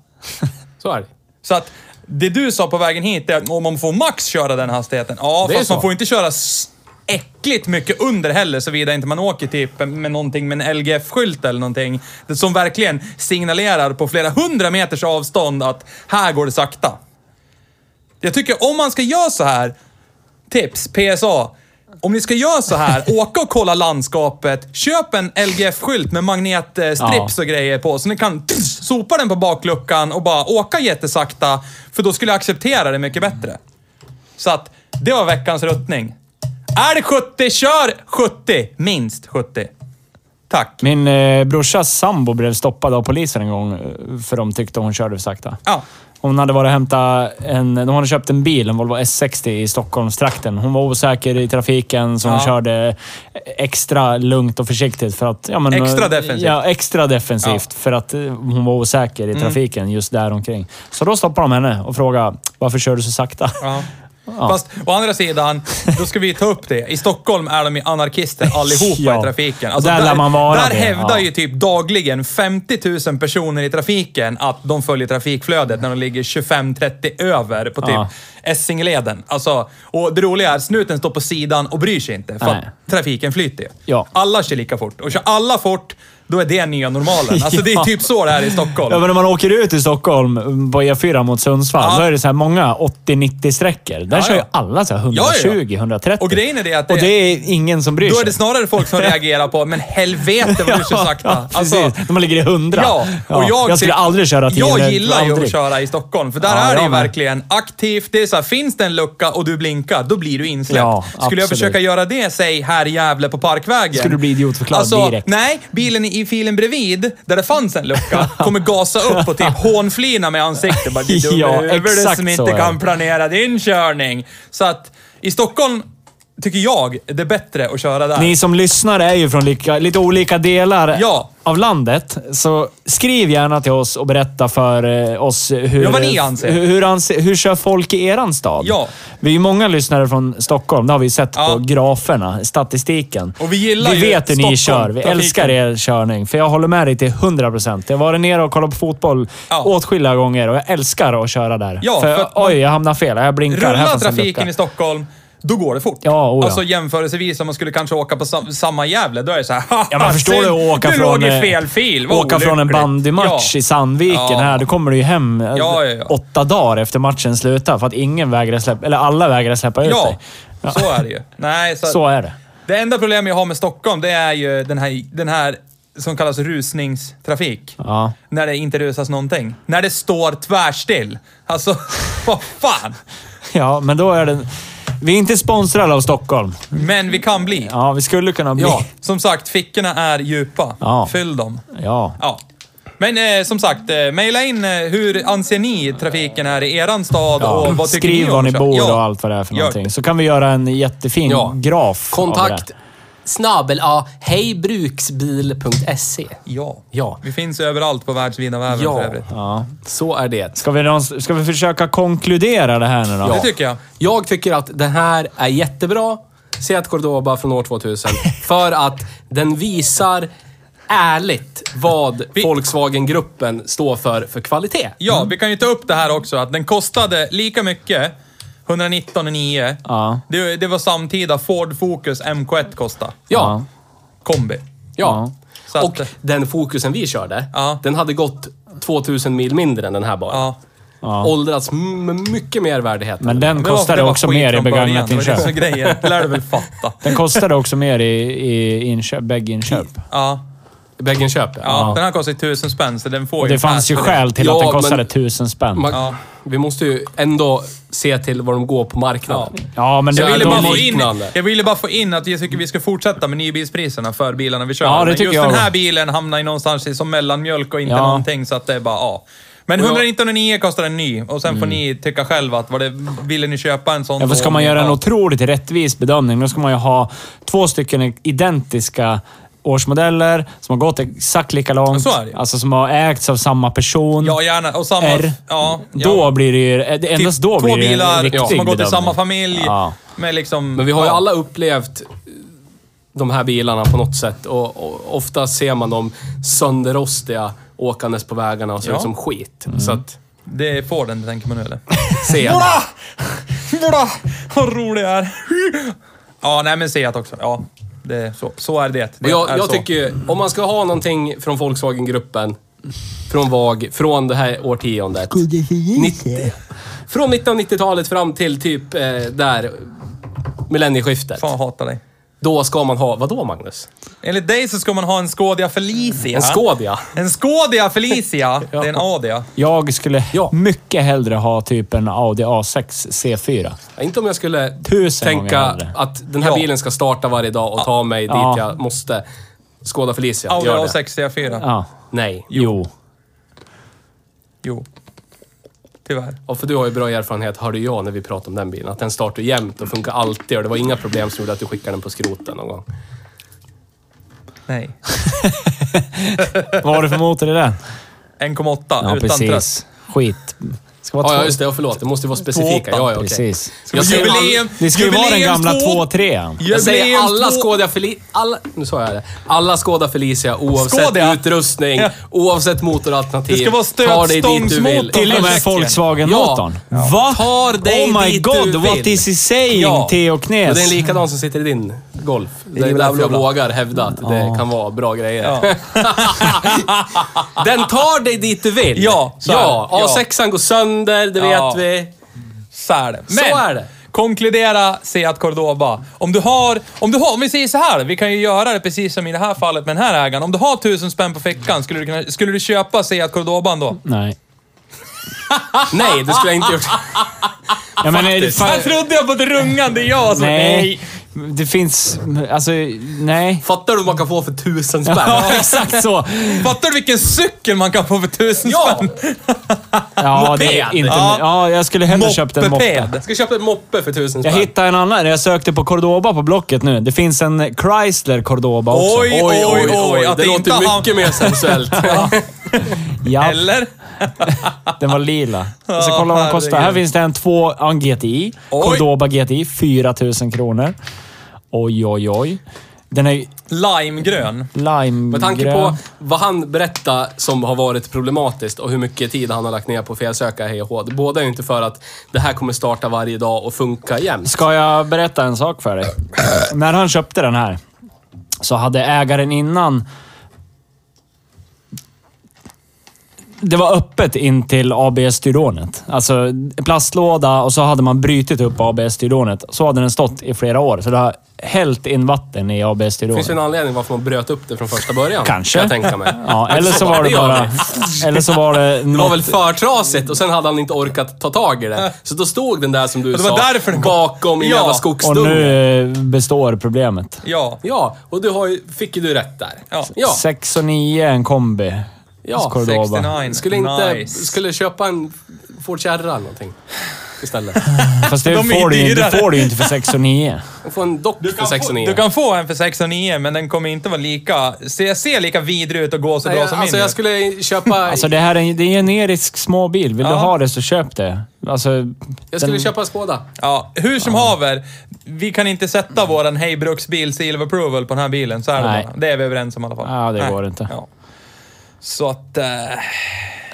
[SPEAKER 2] Så är det.
[SPEAKER 3] Så att Det du sa på vägen hit är att om man får max köra den hastigheten. Ja,
[SPEAKER 2] Det är
[SPEAKER 3] fast
[SPEAKER 2] så.
[SPEAKER 3] man får inte köra s- äckligt mycket under heller, såvida inte man åker typ med någonting med en LGF-skylt eller någonting. Som verkligen signalerar på flera hundra meters avstånd att här går det sakta. Jag tycker om man ska göra så här, tips, PSA. Om ni ska göra så här, åka och kolla landskapet, köp en LGF-skylt med magnetstrips
[SPEAKER 1] Ja.
[SPEAKER 3] och grejer på, så ni kan tss, sopa den på bakluckan och bara åka jättesakta, för då skulle jag acceptera det mycket bättre. Så att, det var veckans ruttning. Är det 70, kör 70! Minst 70. Tack.
[SPEAKER 1] Min eh, brorsas sambo blev stoppad av polisen en gång eh, för de tyckte hon körde för sakta.
[SPEAKER 3] Ja.
[SPEAKER 1] Hon hade varit och hämtat en... De hade köpt en bil, en Volvo S60 i Stockholmstrakten. Hon var osäker i trafiken, så hon
[SPEAKER 3] Ja.
[SPEAKER 1] körde extra lugnt och försiktigt för att... Ja, men,
[SPEAKER 3] Extra
[SPEAKER 1] eh,
[SPEAKER 3] defensivt.
[SPEAKER 1] Ja, extra defensivt. För att eh, hon var osäker
[SPEAKER 3] Mm.
[SPEAKER 1] i trafiken just där omkring. Så då stoppade de henne och frågade varför kör du så sakta?
[SPEAKER 3] Ja. Fast å andra sidan, då ska vi ta upp det. I Stockholm är de ju anarkister allihopa
[SPEAKER 1] Ja.
[SPEAKER 3] i trafiken. Alltså,
[SPEAKER 1] Och där lär man vara
[SPEAKER 3] där
[SPEAKER 1] det,
[SPEAKER 3] hävdar
[SPEAKER 1] ja.
[SPEAKER 3] ju typ dagligen 50 000 personer i trafiken att de följer trafikflödet när de ligger 25-30 över på typ
[SPEAKER 1] Ja.
[SPEAKER 3] Essingeleden. Alltså, och det roliga är, snuten står på sidan och bryr sig inte för att
[SPEAKER 1] Nej.
[SPEAKER 3] trafiken flyter ju.
[SPEAKER 1] Ja.
[SPEAKER 3] Alla kör lika fort. Och kör alla fort, då är det nya normalen. Alltså det är
[SPEAKER 1] Ja.
[SPEAKER 3] typ så det är i
[SPEAKER 1] Ja,
[SPEAKER 3] Stockholm.
[SPEAKER 1] men när man åker ut i Stockholm på E4 mot Sundsvall,
[SPEAKER 3] Ja.
[SPEAKER 1] då är det så här många 80-90 sträckor. Där
[SPEAKER 3] Ja,
[SPEAKER 1] kör ju
[SPEAKER 3] ja.
[SPEAKER 1] alla så här 120,
[SPEAKER 3] Ja, ja.
[SPEAKER 1] 130.
[SPEAKER 3] Och grejen är det att det-
[SPEAKER 1] Och det är ingen som bryr
[SPEAKER 3] Då
[SPEAKER 1] sig.
[SPEAKER 3] är det snarare folk som reagerar på, men helvete vad du kör sakta. Alltså,
[SPEAKER 1] Ja, precis. När man ligger i 100.
[SPEAKER 3] Ja, och jag,
[SPEAKER 1] jag skulle
[SPEAKER 3] tyck-
[SPEAKER 1] aldrig köra 10.
[SPEAKER 3] Jag gillar ju att
[SPEAKER 1] aldrig.
[SPEAKER 3] köra i Stockholm, för där
[SPEAKER 1] Ja,
[SPEAKER 3] är det
[SPEAKER 1] jag
[SPEAKER 3] ju
[SPEAKER 1] med.
[SPEAKER 3] verkligen aktivt. Det är så här, finns det en lucka och du blinkar, då blir du insläppt.
[SPEAKER 1] Ja,
[SPEAKER 3] Skulle jag
[SPEAKER 1] absolut.
[SPEAKER 3] försöka göra det, säg här i Gävle på Parkvägen.
[SPEAKER 1] Skulle du bli idiotförklarad
[SPEAKER 3] alltså,
[SPEAKER 1] direkt.
[SPEAKER 3] Nej, bilen i filen bredvid, där det fanns en lucka, kommer gasa upp och typ hånflina med ansiktet. Bara, "Du dumme
[SPEAKER 1] Ja,
[SPEAKER 3] huvud, du
[SPEAKER 1] exakt
[SPEAKER 3] som
[SPEAKER 1] så
[SPEAKER 3] inte
[SPEAKER 1] är
[SPEAKER 3] kan
[SPEAKER 1] det."
[SPEAKER 3] planera din körning. Så att i Stockholm tycker jag det är bättre att köra där.
[SPEAKER 1] Ni som lyssnar är ju från lika, lite olika delar
[SPEAKER 3] Ja.
[SPEAKER 1] av landet, så skriv gärna till oss och berätta för eh, oss hur,
[SPEAKER 3] Ja, vad ni anser.
[SPEAKER 1] hur, hur, anser, hur kör folk i eran stad.
[SPEAKER 3] Ja.
[SPEAKER 1] Vi är ju många lyssnare från Stockholm, det har vi sett
[SPEAKER 3] Ja.
[SPEAKER 1] på graferna, statistiken.
[SPEAKER 3] Och vi gillar ju
[SPEAKER 1] vet hur ni
[SPEAKER 3] Stockholm,
[SPEAKER 1] kör, vi
[SPEAKER 3] trafiken.
[SPEAKER 1] älskar er körning. För jag håller med dig till 100 procent. Jag har varit nere och kollat på fotboll
[SPEAKER 3] Ja.
[SPEAKER 1] åtskilliga gånger och jag älskar att köra där.
[SPEAKER 3] Ja, för att man-
[SPEAKER 1] oj, jag hamnar fel. Jag blinkar. här
[SPEAKER 3] Rullar
[SPEAKER 1] fanns en
[SPEAKER 3] trafiken
[SPEAKER 1] lucka.
[SPEAKER 3] i Stockholm, då går det fort.
[SPEAKER 1] Ja, oja.
[SPEAKER 3] Alltså jämförelsevis om man skulle kanske åka på sam- samma Gävle, då är det så här, "Haha,
[SPEAKER 1] Ja, men förstår
[SPEAKER 3] synd,
[SPEAKER 1] du att åka,
[SPEAKER 3] du
[SPEAKER 1] från,
[SPEAKER 3] låg i
[SPEAKER 1] eh,
[SPEAKER 3] fel fil. Vad
[SPEAKER 1] åka från en
[SPEAKER 3] olyckligt."
[SPEAKER 1] bandymatch
[SPEAKER 3] Ja.
[SPEAKER 1] i Sandviken
[SPEAKER 3] Ja.
[SPEAKER 1] här. Då kommer du ju hem eh,
[SPEAKER 3] Ja, ja, ja.
[SPEAKER 1] åtta dagar efter matchen slutar för att ingen vägrar släppa, eller alla vägrar släppa ut
[SPEAKER 3] Ja,
[SPEAKER 1] dig. Ja.
[SPEAKER 3] så är det ju. Nej, så,
[SPEAKER 1] Så är det.
[SPEAKER 3] Det enda problem jag har med Stockholm, det är ju den här, den här som kallas rusningstrafik.
[SPEAKER 1] Ja.
[SPEAKER 3] När det inte rusas någonting. När det står tvärstill. Alltså, vad fan!
[SPEAKER 1] ja, men då är det... Vi är inte sponsrade av Stockholm.
[SPEAKER 3] Men vi kan bli.
[SPEAKER 1] Ja, vi skulle kunna bli...
[SPEAKER 3] Ja, som sagt, fickorna är djupa.
[SPEAKER 1] Ja.
[SPEAKER 3] Fyll dem.
[SPEAKER 1] ja.
[SPEAKER 3] Ja. Men eh, som sagt, eh, mejla in eh, hur anser ni trafiken är i eran stad
[SPEAKER 1] Ja.
[SPEAKER 3] och vad tycker
[SPEAKER 1] Skriv
[SPEAKER 3] ni om
[SPEAKER 1] var ni
[SPEAKER 3] kö-
[SPEAKER 1] bor
[SPEAKER 3] Ja.
[SPEAKER 1] och allt vad det är för
[SPEAKER 3] Gör
[SPEAKER 1] någonting. Så kan vi göra en jättefin
[SPEAKER 2] Ja.
[SPEAKER 1] graf av
[SPEAKER 4] Kontakt
[SPEAKER 1] det.
[SPEAKER 4] snabel a hejbruksbil.se.
[SPEAKER 3] Ja.
[SPEAKER 2] Ja.
[SPEAKER 3] Vi finns överallt på världsvida väven
[SPEAKER 2] E. Ja.
[SPEAKER 3] för övrigt.
[SPEAKER 1] Ja.
[SPEAKER 2] Så är det.
[SPEAKER 1] Ska, vi någonstans, ska vi försöka konkludera det här nu då?
[SPEAKER 3] Det tycker jag.
[SPEAKER 2] Jag tycker att den här är jättebra. Seat Cordoba från år 2000. För att den visar ärligt vad
[SPEAKER 3] Vi-
[SPEAKER 2] Volkswagen-gruppen står för, för kvalitet.
[SPEAKER 3] Ja,
[SPEAKER 1] Mm.
[SPEAKER 3] vi kan ju ta upp det här också, att den kostade lika mycket, 119,9.
[SPEAKER 1] Ja.
[SPEAKER 3] Det, det var samtida Ford Focus MK1 kosta.
[SPEAKER 2] Ja.
[SPEAKER 3] Kombi.
[SPEAKER 2] Ja.
[SPEAKER 3] Så att- eh,
[SPEAKER 2] och den fokusen vi körde,
[SPEAKER 3] Ja.
[SPEAKER 2] den hade gått 2000 mil mindre än den här bara.
[SPEAKER 3] Ja.
[SPEAKER 2] Åldrats m- med mycket mer värdighet.
[SPEAKER 1] Men den
[SPEAKER 3] Men varför
[SPEAKER 1] kostade
[SPEAKER 3] var
[SPEAKER 1] också
[SPEAKER 3] skit
[SPEAKER 1] mer i
[SPEAKER 3] från början?
[SPEAKER 1] begagnat
[SPEAKER 3] Det var det
[SPEAKER 1] inköp.
[SPEAKER 3] som är grejen. Det lär du väl fatta.
[SPEAKER 1] Den kostade också mer i, i inköp, bägge inköp.
[SPEAKER 3] Ja.
[SPEAKER 2] Bäggen köper.
[SPEAKER 3] Ja, den här kostar ju tusen spänn, så den får
[SPEAKER 1] Och
[SPEAKER 3] ju
[SPEAKER 1] det fanns ju
[SPEAKER 3] pass för det.
[SPEAKER 1] skäl till att
[SPEAKER 2] Ja,
[SPEAKER 1] den kostade
[SPEAKER 2] men-
[SPEAKER 1] tusen spänn.
[SPEAKER 2] Man,
[SPEAKER 3] Ja.
[SPEAKER 2] Vi måste ju ändå se till vad de går på marknaden.
[SPEAKER 1] Ja, men det,
[SPEAKER 2] Jag
[SPEAKER 3] Jag ville,
[SPEAKER 1] de,
[SPEAKER 3] bara få in,
[SPEAKER 2] liknande.
[SPEAKER 3] jag ville bara få in att jag tycker vi ska fortsätta med nybilspriserna för bilarna vi kör.
[SPEAKER 1] Ja, det
[SPEAKER 3] Men
[SPEAKER 1] tycker
[SPEAKER 3] Just
[SPEAKER 1] jag
[SPEAKER 3] den här
[SPEAKER 1] också.
[SPEAKER 3] bilen hamnar ju någonstans i som mellanmjölk och inte
[SPEAKER 1] Ja.
[SPEAKER 3] någonting, så att det är bara ja. Men 119,9 kostar en ny och sen får ni tycka själva att vad det, ville ni köpa en sån?
[SPEAKER 1] Mm. Ja, för
[SPEAKER 3] då?
[SPEAKER 1] ska man göra en
[SPEAKER 3] Ja.
[SPEAKER 1] otroligt rättvis bedömning, då ska man ju ha två stycken identiska årsmodeller som har gått exakt lika långt.
[SPEAKER 3] Ja, så är det ju.
[SPEAKER 1] Alltså som har ägts av samma person.
[SPEAKER 3] Ja, gärna. Och samma...
[SPEAKER 1] R.
[SPEAKER 3] Ja, ja.
[SPEAKER 1] Då blir det ju... eh,
[SPEAKER 3] Typ
[SPEAKER 1] Endast då
[SPEAKER 3] Två
[SPEAKER 1] blir det ju en
[SPEAKER 3] bilar
[SPEAKER 1] riktig
[SPEAKER 3] som har gått i
[SPEAKER 1] bedömning.
[SPEAKER 3] samma familj.
[SPEAKER 1] Ja.
[SPEAKER 3] Med liksom,
[SPEAKER 2] Men vi har ju
[SPEAKER 3] ja.
[SPEAKER 2] alla upplevt eh, de här bilarna på något sätt och, och ofta ser man dem sönderrostiga åkandes på vägarna och ser
[SPEAKER 3] Ja.
[SPEAKER 1] Mm.
[SPEAKER 2] ut som skit. Så att,
[SPEAKER 3] Det är Forden, tänker man nu eller?
[SPEAKER 2] Seat.
[SPEAKER 3] Bra! Bra! Vad rolig jag är. Ja, nej men Seat också. Ja, det är så. så är det. det
[SPEAKER 2] Och jag,
[SPEAKER 3] är
[SPEAKER 2] jag
[SPEAKER 3] så.
[SPEAKER 2] tycker ju, om man ska ha någonting från Volkswagen-gruppen, från VAG, från det här årtiondet. 90, från 1990-talet fram till typ eh, där, millennieskiftet.
[SPEAKER 3] Fan, jag hatar dig.
[SPEAKER 2] Då ska man ha, vadå Magnus?
[SPEAKER 3] Enligt dig så ska man ha en Skodia Felicia.
[SPEAKER 2] En Skodia?
[SPEAKER 3] En Skodia Felicia. Det är en Adia.
[SPEAKER 1] Jag skulle
[SPEAKER 2] Ja.
[SPEAKER 1] mycket hellre ha typ en Audi A6 C4.
[SPEAKER 2] Ja, Inte om jag skulle
[SPEAKER 1] Tusen
[SPEAKER 2] tänka
[SPEAKER 1] gånger hellre.
[SPEAKER 2] att den här
[SPEAKER 3] Ja.
[SPEAKER 2] bilen ska starta varje dag och ta mig dit
[SPEAKER 1] Ja.
[SPEAKER 2] jag måste. Skoda Felicia,
[SPEAKER 3] Audi
[SPEAKER 2] gör det.
[SPEAKER 3] A64.
[SPEAKER 1] Ja.
[SPEAKER 2] Nej.
[SPEAKER 1] Jo.
[SPEAKER 3] Jo. Tyvärr.
[SPEAKER 2] Ja, för du har ju bra erfarenhet, hörde jag, när vi pratade om den bilen. Att den startar jämt och funkar alltid och det var inga problem som gjorde att du skickade den på skroten någon gång.
[SPEAKER 3] Nej.
[SPEAKER 1] Vad har du för motor i den?
[SPEAKER 3] 1,8
[SPEAKER 1] Ja,
[SPEAKER 3] utan trött.
[SPEAKER 1] precis. Skit. Ska vara
[SPEAKER 2] Ja,
[SPEAKER 1] två-
[SPEAKER 2] ja, just det. Ja, förlåt. Det måste ju vara
[SPEAKER 3] Tvååtta.
[SPEAKER 2] specifika. Ja, ja, okej.
[SPEAKER 1] Precis.
[SPEAKER 2] Jag säger
[SPEAKER 3] Jubileum!
[SPEAKER 2] all-
[SPEAKER 1] Det ska ju vara den gamla
[SPEAKER 3] Jubileums två-
[SPEAKER 1] 2-3.
[SPEAKER 2] Jag säger
[SPEAKER 3] Jubileums
[SPEAKER 2] alla
[SPEAKER 3] två-
[SPEAKER 2] Skoda Felicia... Alla, nu sa jag det. Alla Skoda Felicia oavsett
[SPEAKER 3] Skoda?
[SPEAKER 2] utrustning,
[SPEAKER 3] Ja.
[SPEAKER 2] oavsett motoralternativ.
[SPEAKER 3] Det ska vara
[SPEAKER 2] tar dig dit du
[SPEAKER 3] stötstångsmotor.
[SPEAKER 2] vill.
[SPEAKER 1] Till och med
[SPEAKER 3] Helvete.
[SPEAKER 1] Volkswagen-motorn. Va?
[SPEAKER 2] Tar dig
[SPEAKER 1] oh my
[SPEAKER 2] dit
[SPEAKER 1] god,
[SPEAKER 2] du
[SPEAKER 1] what
[SPEAKER 2] vill.
[SPEAKER 1] is he saying,
[SPEAKER 2] Ja.
[SPEAKER 1] Theo
[SPEAKER 2] Och det är en
[SPEAKER 1] Knes?
[SPEAKER 2] likadan som sitter i din Golf. Det är
[SPEAKER 3] Jibla,
[SPEAKER 2] därför jag
[SPEAKER 3] blabla.
[SPEAKER 2] vågar hävda att det kan vara bra grejer. Den tar dig dit du vill.
[SPEAKER 3] Ja, så är det.
[SPEAKER 2] ja.
[SPEAKER 3] Ja.
[SPEAKER 2] A6 går sönder, det
[SPEAKER 3] Ja.
[SPEAKER 2] vet vi.
[SPEAKER 3] Så är det. Men,
[SPEAKER 2] Så är det.
[SPEAKER 3] Konkludera Seat Cordoba. Om du har, om du har, om vi säger så här, vi kan ju göra det precis som i det här fallet med den här ägaren. Om du har tusen spänn på fickan, skulle du, kunna, skulle du köpa Seat Cordoban då?
[SPEAKER 1] Nej.
[SPEAKER 2] Nej, det skulle jag inte gjort. Ah,
[SPEAKER 1] Jag menar, det-
[SPEAKER 3] Här trodde jag på ett rungande ja. Så
[SPEAKER 1] nej. Det finns... Alltså, nej.
[SPEAKER 2] Fattar du vad man kan få för tusen spänn?
[SPEAKER 1] Ja, exakt så.
[SPEAKER 3] Fattar du vilken cykel man kan få för tusen
[SPEAKER 2] Ja.
[SPEAKER 3] spänn?
[SPEAKER 1] Ja, det är
[SPEAKER 2] Moped.
[SPEAKER 1] inte...
[SPEAKER 3] Ja.
[SPEAKER 1] Ja, jag skulle hellre köpt en moppe.
[SPEAKER 3] Moppeped.
[SPEAKER 2] Jag ska köpa en moppe för tusen
[SPEAKER 1] Jag
[SPEAKER 2] spänn.
[SPEAKER 1] hittade en annan. Jag sökte på Cordoba på Blocket nu. Det finns en Chrysler Cordoba också.
[SPEAKER 3] Oj, oj, oj. att
[SPEAKER 2] det
[SPEAKER 3] det
[SPEAKER 2] låter
[SPEAKER 3] inte har-
[SPEAKER 2] mycket mer sensuellt.
[SPEAKER 1] Ja,
[SPEAKER 3] Eller?
[SPEAKER 1] den var lila. Jag ska
[SPEAKER 3] Ja,
[SPEAKER 1] kolla vad den kostar.
[SPEAKER 3] herregud.
[SPEAKER 1] Här finns det en 2 en GTI.
[SPEAKER 3] Oj.
[SPEAKER 1] Cordoba GTI. 4 000 kronor. Oj, oj, oj. Den är ju
[SPEAKER 3] Limegrön.
[SPEAKER 1] limegrön.
[SPEAKER 2] Med tanke på vad han berättar som har varit problematiskt och hur mycket tid han har lagt ner på att felsöka hej och hå. Det båda är ju inte för att det här kommer starta varje dag och funka jämt.
[SPEAKER 1] Ska jag berätta en sak för dig? När han köpte den här så hade ägaren innan... Det var öppet in till ABS-styronet. Alltså plastlåda och så hade man brytit upp ABS-styronet. Så hade den stått i flera år. Så det har hällt in vatten i
[SPEAKER 2] Det finns ju
[SPEAKER 1] ABS-styronet.
[SPEAKER 2] en anledning varför man bröt upp det från första början.
[SPEAKER 1] Kanske.
[SPEAKER 2] kan Jag tänka mig. Alltså,
[SPEAKER 1] Ja, eller så var det
[SPEAKER 2] gör
[SPEAKER 1] bara...
[SPEAKER 2] vi.
[SPEAKER 1] Eller så var det
[SPEAKER 2] Det var väl
[SPEAKER 1] något...
[SPEAKER 2] för trasigt och sen hade han inte orkat ta tag i det. Så då stod den där som du
[SPEAKER 3] det var
[SPEAKER 2] sa,
[SPEAKER 3] därför den kom.
[SPEAKER 2] bakom i en
[SPEAKER 3] Ja.
[SPEAKER 2] jävla
[SPEAKER 1] Och
[SPEAKER 2] skogsdunge.
[SPEAKER 1] nu eh, består problemet.
[SPEAKER 3] Ja.
[SPEAKER 2] Ja, och du har ju, fick ju du rätt där.
[SPEAKER 3] Ja.
[SPEAKER 2] ja.
[SPEAKER 1] 6 och 9 en kombi.
[SPEAKER 2] Ja,
[SPEAKER 1] Cordoba.
[SPEAKER 3] 69.
[SPEAKER 2] Skulle inte...
[SPEAKER 3] Nice.
[SPEAKER 2] Skulle köpa en Ford Kärra eller någonting istället.
[SPEAKER 1] Fast det
[SPEAKER 3] De är
[SPEAKER 1] får du ju inte,
[SPEAKER 3] dyrare.
[SPEAKER 1] får du ju inte för 6 och 9.
[SPEAKER 2] Och få en dock för 6
[SPEAKER 3] Du kan få en för 609 men den kommer inte vara lika... Se, se lika vidrig ut och gå så bra som
[SPEAKER 2] Alltså
[SPEAKER 3] min.
[SPEAKER 2] jag skulle köpa...
[SPEAKER 1] Alltså det här är en, det är en generisk småbil. Vill
[SPEAKER 3] Ja.
[SPEAKER 1] du ha det så köp det. Alltså,
[SPEAKER 2] jag skulle
[SPEAKER 1] den-
[SPEAKER 2] köpa en Skoda.
[SPEAKER 3] Ja, hur som haver. Vi kan inte sätta våran Hey Bruksbil Seal of Approval på den här bilen. Så är det
[SPEAKER 1] Nej.
[SPEAKER 3] bara. Det är vi överens om i alla fall.
[SPEAKER 1] Ja, det går inte.
[SPEAKER 3] Ja. Så att... eh,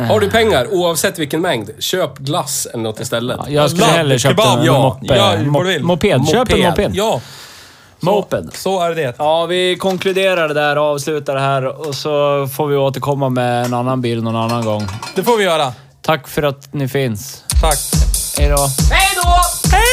[SPEAKER 2] Har du pengar, oavsett vilken mängd, köp glass eller något istället.
[SPEAKER 1] Jag skulle
[SPEAKER 3] Ladd,
[SPEAKER 1] hellre köpa
[SPEAKER 3] kebab,
[SPEAKER 1] en
[SPEAKER 3] ja.
[SPEAKER 1] moppe.
[SPEAKER 3] Ja,
[SPEAKER 1] Mo-
[SPEAKER 3] vad du vill.
[SPEAKER 1] moped. Köp en
[SPEAKER 2] Moped.
[SPEAKER 1] moped.
[SPEAKER 3] ja,
[SPEAKER 1] Moped.
[SPEAKER 3] så är det.
[SPEAKER 1] Ja, vi konkluderar det där och avslutar det här och så får vi återkomma med en annan bil någon annan gång.
[SPEAKER 3] Det får vi göra.
[SPEAKER 1] Tack för att ni finns.
[SPEAKER 3] Tack.
[SPEAKER 1] Hej då.
[SPEAKER 2] Hej då!